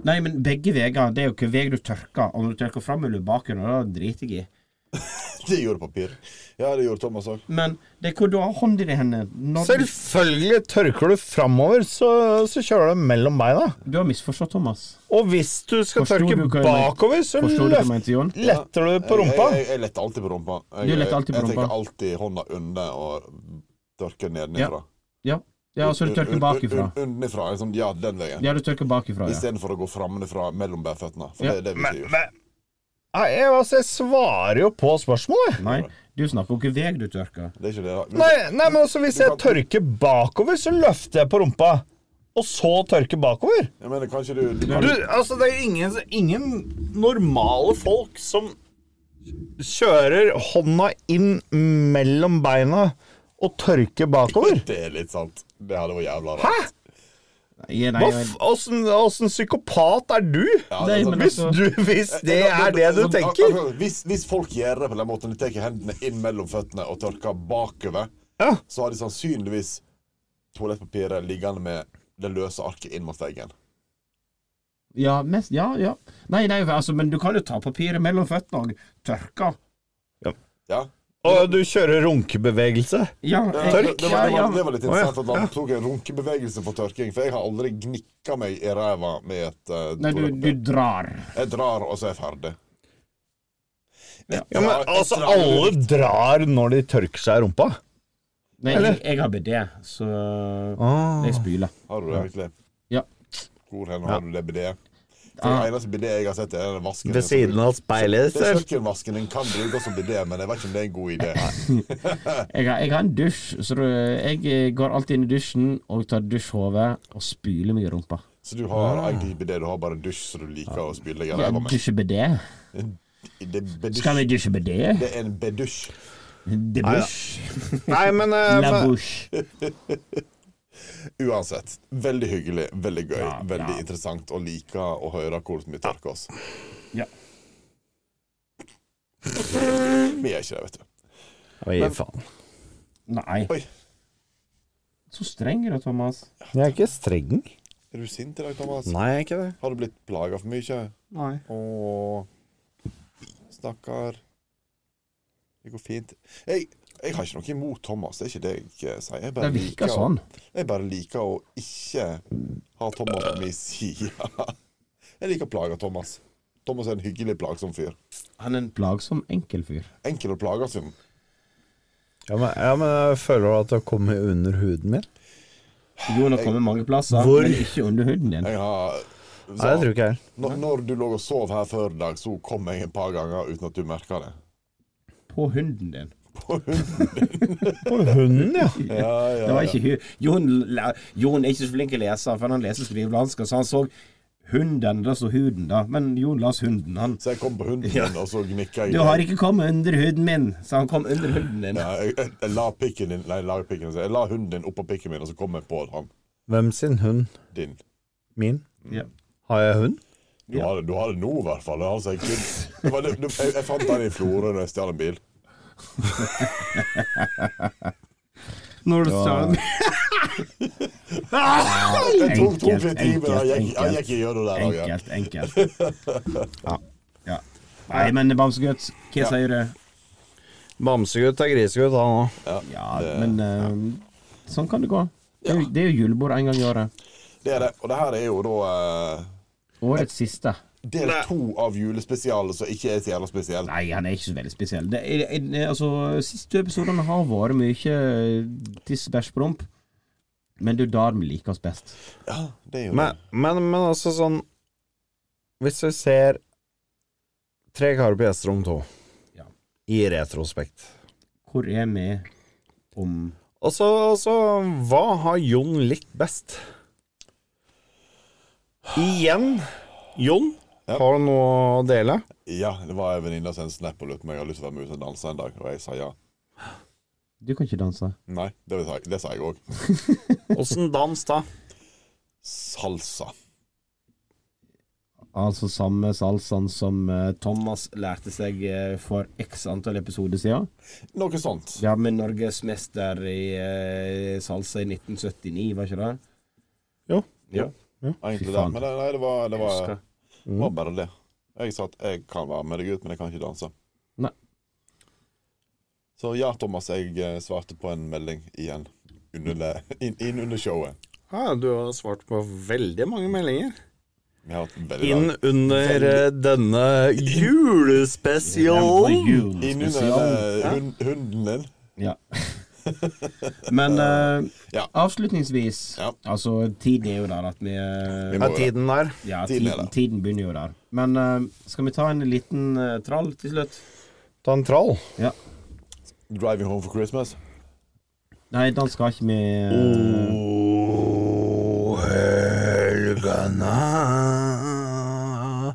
S2: Nei, men begge veier. Det er jo hvilken vei du tørker. Om du tørker fram eller baken, og det driter jeg i.
S4: Det gjorde papir. Ja, det gjorde Thomas òg.
S2: Men det er hvor du har hånda di henne. Når du,
S5: Selvfølgelig tørker du framover, så, så kjører du mellom beina.
S2: du har misforstått, Thomas.
S5: Og hvis du skal
S2: Forstod du
S5: tørke
S2: hva jeg mente?
S5: bakover, så
S2: Forstår du hva jeg
S5: løft,
S2: mente, Jon?
S5: letter du på rumpa.
S4: Jeg, jeg, jeg letter alltid på rumpa. Jeg,
S2: Du letter alltid på
S4: jeg, jeg
S2: rumpa.
S4: tenker alltid hånda under og tørker nedenifra.
S2: Ja. ja, og så du tørker
S4: Un-
S2: bakifra.
S4: un- Underifra. Liksom, ja, den veien.
S2: Ja, du tørker bakifra, ja.
S4: Istedenfor å gå framenfra mellom bærføttene. For
S2: Ja.
S4: det, det vil
S5: Men,
S4: jeg gjøre.
S5: men Nei, jeg, altså, jeg svarer jo på spørsmålet.
S2: Nei, du snakker om hvilken vei du tørker.
S4: Det er ikke det. Vi-
S5: Nei, nei, men altså, hvis jeg tørker bakover, så løfter jeg på rumpa. Og så tørker bakover.
S4: Jeg mener, kanskje du, du,
S5: Du, altså, det er ingen, ingen normale folk som kjører hånda inn mellom beina og tørker bakover.
S4: Det er litt sant. Det hadde vært jævla
S5: Hæ?
S4: rart.
S2: Ja, nei,
S5: Hva
S2: jeg-
S5: f- åssen- Åssen psykopat er du?
S4: Ja,
S2: Nei,
S4: det er
S2: men
S4: sant.
S5: Hvis,
S2: altså-
S5: du, hvis det er det du
S4: Sånn,
S5: tenker.
S4: akkurat, Hvis, hvis folk gjør det på den måten, de tar hendene inn mellom føttene og tørker bakover,
S5: Ja.
S4: så har de sannsynligvis toalettpapiret liggende med det løse arket inn mot veggen.
S2: ja, mest, ja, ja. Nei, nei, altså, men du kan jo ta papiret mellom føttene og tørke.
S4: Ja?
S5: Og du kjører runkebevegelse.
S2: Ja,
S4: Det,
S2: jeg-
S4: det, det, var, det,
S2: ja,
S4: var, det
S2: ja.
S4: var litt interessant at han tok en runkebevegelse for tørking, for jeg har aldri gnikka meg i ræva med et uh,
S2: Nei, du, du
S4: toalettpapir.
S2: drar.
S4: Jeg drar, og så er jeg ferdig.
S5: Ja, men altså, alle drar når de tørker seg i rumpa.
S2: Nei, jeg, jeg har BD, så jeg spyler.
S4: Har du det virkelig?
S2: Ja.
S4: Hvor hen har du det bidet? For
S2: Ah.
S4: Det eneste bidet jeg har sett, er den vasken.
S5: Ved siden av speilet.
S4: Det er kjøkkenvasken. Den kan brukes som bidé, men jeg vet ikke om det er en god idé.
S2: Jeg har, jeg har en dusj, så du, jeg eh, går alltid inn i dusjen og tar dusjhodet og spyler meg i rumpa.
S4: Så du har
S2: Ah.
S4: egentlig ikke bidé, du har bare en dusj som du liker å spyle deg i ræva med.
S2: Dusje BD?
S4: Det er
S2: Skal vi
S4: bedusj.
S2: dusje BD?
S4: Det er en bedusj.
S2: Debusj.
S5: Nei, men eh,
S2: La
S5: men-
S2: bouche.
S4: Uansett. Veldig hyggelig, veldig gøy,
S2: Ja,
S4: veldig
S2: ja.
S4: interessant å like å høre hvordan vi tørker oss.
S2: Ja.
S4: Vi er ikke det, vet du.
S5: Oi, faen.
S2: Nei.
S4: Oi.
S2: Så streng er du, Thomas.
S5: Jeg er ikke streng.
S4: Er du sint i dag, Thomas?
S5: Nei, jeg er ikke det.
S4: Har du blitt plaga for mye?
S5: Nei.
S4: Åh Stakkar. Det går fint. Jeg, jeg har ikke noe imot Thomas, det er ikke det jeg eh, sier. Jeg bare,
S2: Det virker
S4: liker,
S2: sånn.
S4: jeg bare liker å ikke ha Thomas på min side. Jeg liker å plage Thomas. Thomas er en hyggelig, plagsom fyr.
S2: Han er en plagsom enkelfyr.
S4: Enkel å plage, som
S5: Ja, men, ja, men jeg føler du at det har kommet under huden min?
S2: Jon har kommet mange plasser,
S5: Hvor?
S2: men ikke under huden din.
S4: jeg har så,
S5: Nei, jeg tror ikke jeg er.
S4: når, når du lå og sov her før i dag, så kom jeg et par ganger uten at du merka det.
S2: På hunden din.
S5: På hunden, ja.
S4: Ja, ja,
S2: Det var
S4: ja.
S2: ikke hu Jon, la- Jon er ikke så flink til å lese, for han leser skrivelanske, så han så hunden, da så huden, da. Men Jon las hunden, han.
S4: Så jeg kom på hunden min, og så gnikka jeg.
S2: Du har ikke kommet under huden min, så han kom under huden din.
S4: Ja, jeg, jeg, jeg la pikken din Nei, jeg la, pikken, jeg la hunden din oppå pikken min, og så kom jeg på han
S5: Hvem sin hund?
S4: din.
S5: Min?
S2: Ja.
S5: Har jeg hund?
S4: Du har, det- du har det nå, i hvert fall. Det er Altså, jeg, kun, det var, det, det, jeg, jeg fant den i Florø når jeg stjal en bil.
S2: Når du sa det
S4: Jeg tok, tok
S2: Enkelt,
S4: litt tid, men jeg, gikk- jeg
S2: enkelt,
S4: gikk gjennom det. der, ja.
S2: Enkelt, enkelt. Ja. Nei, men Bamsegutt, hva sier du?
S5: Bamsegutt er grisegutt, han òg.
S2: Ja, men eh, sånn kan det gå. Det er, jo- det er jo julebord en gang i året.
S4: Det er det. Og det her er jo da eh,
S2: Årets siste.
S4: del to av julespesialen som ikke er så jævla spesiell.
S2: Nei, han er ikke så veldig spesiell. Det er, er, er, altså, siste episodene har vært mye eh, tiss, bæsj, promp. Men det er jo der vi liker oss best.
S4: Ja, det er jo
S5: Men,
S4: det.
S5: men, men altså sånn Hvis du ser tre karer på gjesterom to
S2: Ja.
S5: i retrospekt
S2: Hvor er vi om
S5: Altså, altså, hva har Jon likt best? Igjen, Jon,
S4: Ja.
S5: har du noe å dele?
S4: Ja, det var en venninne som sendte snap og lurte på om jeg hadde lyst til å være med ut og danse en dag, og jeg sa ja.
S2: Du kan ikke danse.
S4: Nei, det sa jeg- det sa jeg òg.
S5: Åssen dans, da?
S4: Salsa.
S2: Altså samme salsaen som eh, Thomas lærte seg eh, for x antall episoder siden.
S4: Noe sånt.
S2: Ja, med norgesmester i eh, salsa i 1979, var ikke det?
S4: Egentlig
S2: Fy
S4: det.
S2: faen.
S4: Men det- nei, det var, det
S2: Jeg
S4: var,
S2: husker. Mm.
S4: det var bare det. Jeg sa at jeg kan være med deg ut, men jeg kan ikke danse.
S2: Nei.
S4: Så ja, Thomas, jeg eh, svarte på en melding igjen. Under det, inn, inn under showet.
S5: Ja, du har svart på veldig mange meldinger.
S4: Vi har hatt en veldig
S5: Inn
S4: lang-
S5: under eh, denne julespesialen.
S4: Inn under eh, hund, hunden din.
S2: Ja. Men eh,
S4: Ja.
S2: avslutningsvis
S4: Ja.
S2: Altså, tiden er jo der at vi eh,
S4: Vi må
S5: Er
S4: jo det.
S5: tiden der?
S2: Ja,
S4: tiden er der.
S2: tiden, tiden begynner jo der. Men eh, skal vi ta en liten eh, trall til slutt?
S5: Ta en trall.
S2: Ja.
S4: 'Driving Home for Christmas'.
S2: Nei, den skal ikke vi eh,
S5: helgana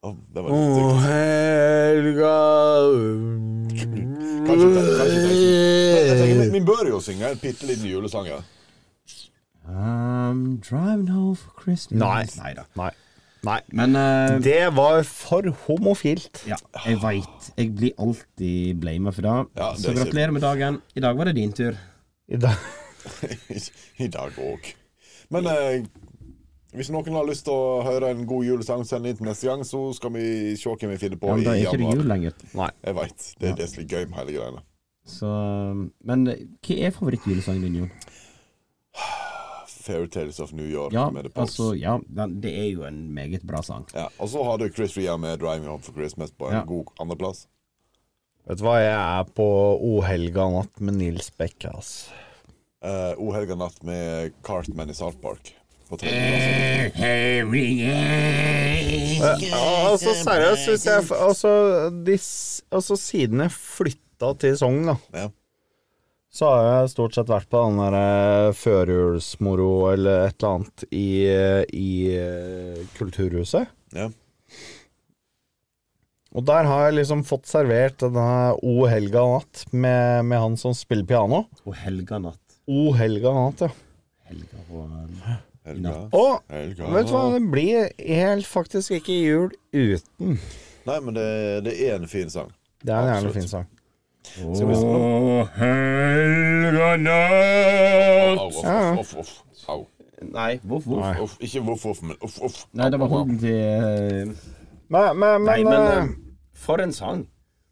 S4: Å, det var litt sykt.
S5: helga Eh.
S4: Kanskje, kanskje, kanskje. Men jeg tenker, vi- Vi bør jo synge en bitte liten julesang. Ja.
S2: I'm driving home for Christmas.
S5: Nei.
S2: Neida.
S5: Nei. Nei.
S2: Men eh,
S5: Det var for homofilt.
S2: ja, jeg veit. Jeg blir alltid blama for det.
S4: Ja, det
S2: Så
S4: er
S2: gratulerer med dagen. I dag var det din tur.
S5: I dag.
S4: I dag òg. Men eh, hvis noen har lyst til å høre en god julesang, send inn til neste gang, så skal vi se hvem vi finner på
S2: Ja, men da
S4: i
S2: er ikke det
S4: januar.
S2: jul lenger.
S4: Jeg veit. Det er det som er gøy med hele greiene.
S2: Så Men eh, hva er favorittjulesangen din, Jon?
S4: Fairytales of New York
S2: Ja,
S4: med The Pogues.
S2: altså, ja, den, det er jo en meget bra sang.
S4: Ja, og så har du Chris Ria med 'Driving Home for Christmas' på en
S2: Ja.
S4: god andreplass.
S5: Vet du hva, jeg er på O helga natt med Nils Bekke, ass.
S4: Uh, o helga natt med Cartman i South Park. På tredjeplass.
S5: Altså, seriøst, hvis jeg Altså, dis- altså siden jeg flytta til Sogn, da.
S4: Ja.
S5: Så har jeg stort sett vært på den der eh, førjulsmoro eller et eller annet i, eh, i eh, Kulturhuset.
S4: Ja.
S5: Og der har jeg liksom fått servert denne O helga natt med, med han som spiller piano.
S2: Og Helga natt.
S5: O helga natt, ja.
S2: Helga og
S4: Helga.
S5: Og
S4: Helga.
S5: vet du hva, det blir helt faktisk ikke jul uten.
S4: Nei, men det, det er en fin sang.
S5: Det er en
S4: Absolutt.
S5: jævlig fin sang.
S4: Au, uff, uff, uff, uff. Au.
S2: Nei. Voff, voff.
S5: Nei.
S4: Uff, ikke voff, voff, men uff, uff.
S2: Nei, det var hoden til eh,
S5: Men, men,
S2: Nei,
S5: men,
S2: men
S5: eh,
S2: eh, For en sang.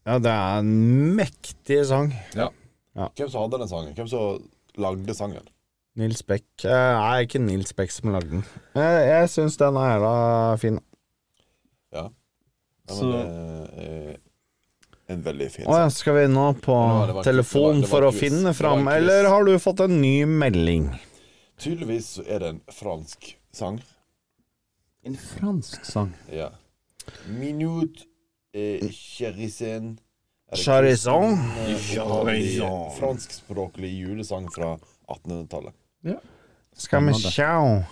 S5: Ja, det er en mektig sang.
S4: Hvem som hadde den sangen? Hvem som lagde sangen?
S5: Nils Beck eh, Nei, ikke Nils Beck som lagde den. Jeg, jeg syns den er jævla fin.
S4: Ja,
S2: Så-
S4: men, det er en veldig fin
S5: Å
S4: sang.
S5: ja, skal vi nå på
S4: Ja, det var- det var-
S5: telefon
S4: det var- det var
S5: for å
S4: quiz.
S5: finne
S4: Det var
S5: fram,
S4: quiz.
S5: eller har du fått en ny melding?
S4: Tydeligvis så er det en fransk sang.
S2: En fransk sang.
S4: Ja. Minute eh, Charisen
S5: Charison?
S4: Charison. Franskspråklig julesang fra 1800-tallet.
S5: Skal vi sjau?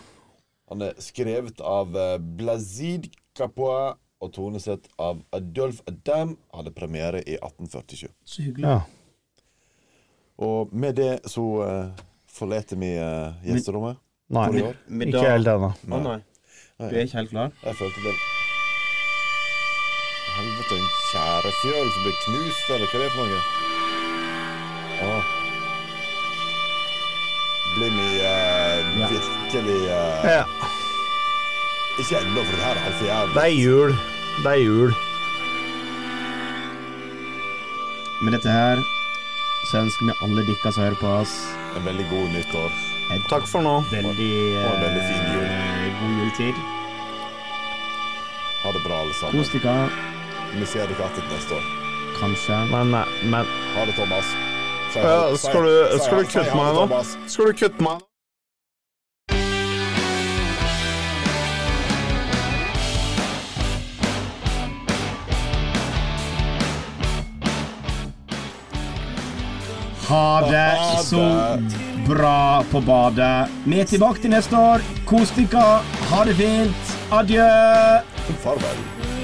S4: Han er skrevet av eh, Blazid Capois og tonesett av Adolf Adam. Hadde premiere i 1847.
S2: Så hyggelig.
S5: Ja.
S4: Og med det så eh, forlater vi eh, gjesterommet
S5: Nei,
S4: for i år.
S5: ikke helt ennå.
S2: Å nei. Du er ikke helt klar?
S4: Jeg følte det Helvete, en tjærefjøl som ble knust, eller hva er det for noe? Ah. Blir vi eh,
S2: Ja.
S4: virkelig eh,
S5: Ja,
S4: Ikke ennå, for det her er helt for jævlig.
S5: det er jul. Det er jul.
S2: Med dette her så ønsker vi alle dere som hører på oss,
S4: En veldig god nyttår
S2: et
S5: Takk for nå.
S2: veldig,
S4: og en veldig fin jul.
S2: eh, god juletid.
S4: Ha det bra, alle sammen.
S2: Kos dere.
S4: Vi ser dere igjen neste år.
S2: Kanskje.
S5: Men, nei, men
S4: Ha det, Thomas. Si
S5: Ja,
S4: ha det-
S5: skal du-
S4: si-
S5: skal du
S4: si
S5: kutte
S4: ha
S5: meg
S4: det,
S5: nå?
S4: Thomas.
S5: Skal du kutte meg?
S2: Ha det så bra på badet. Vi er tilbake til neste år. Kos dere. Ha det fint. Adjø.
S4: Farvel.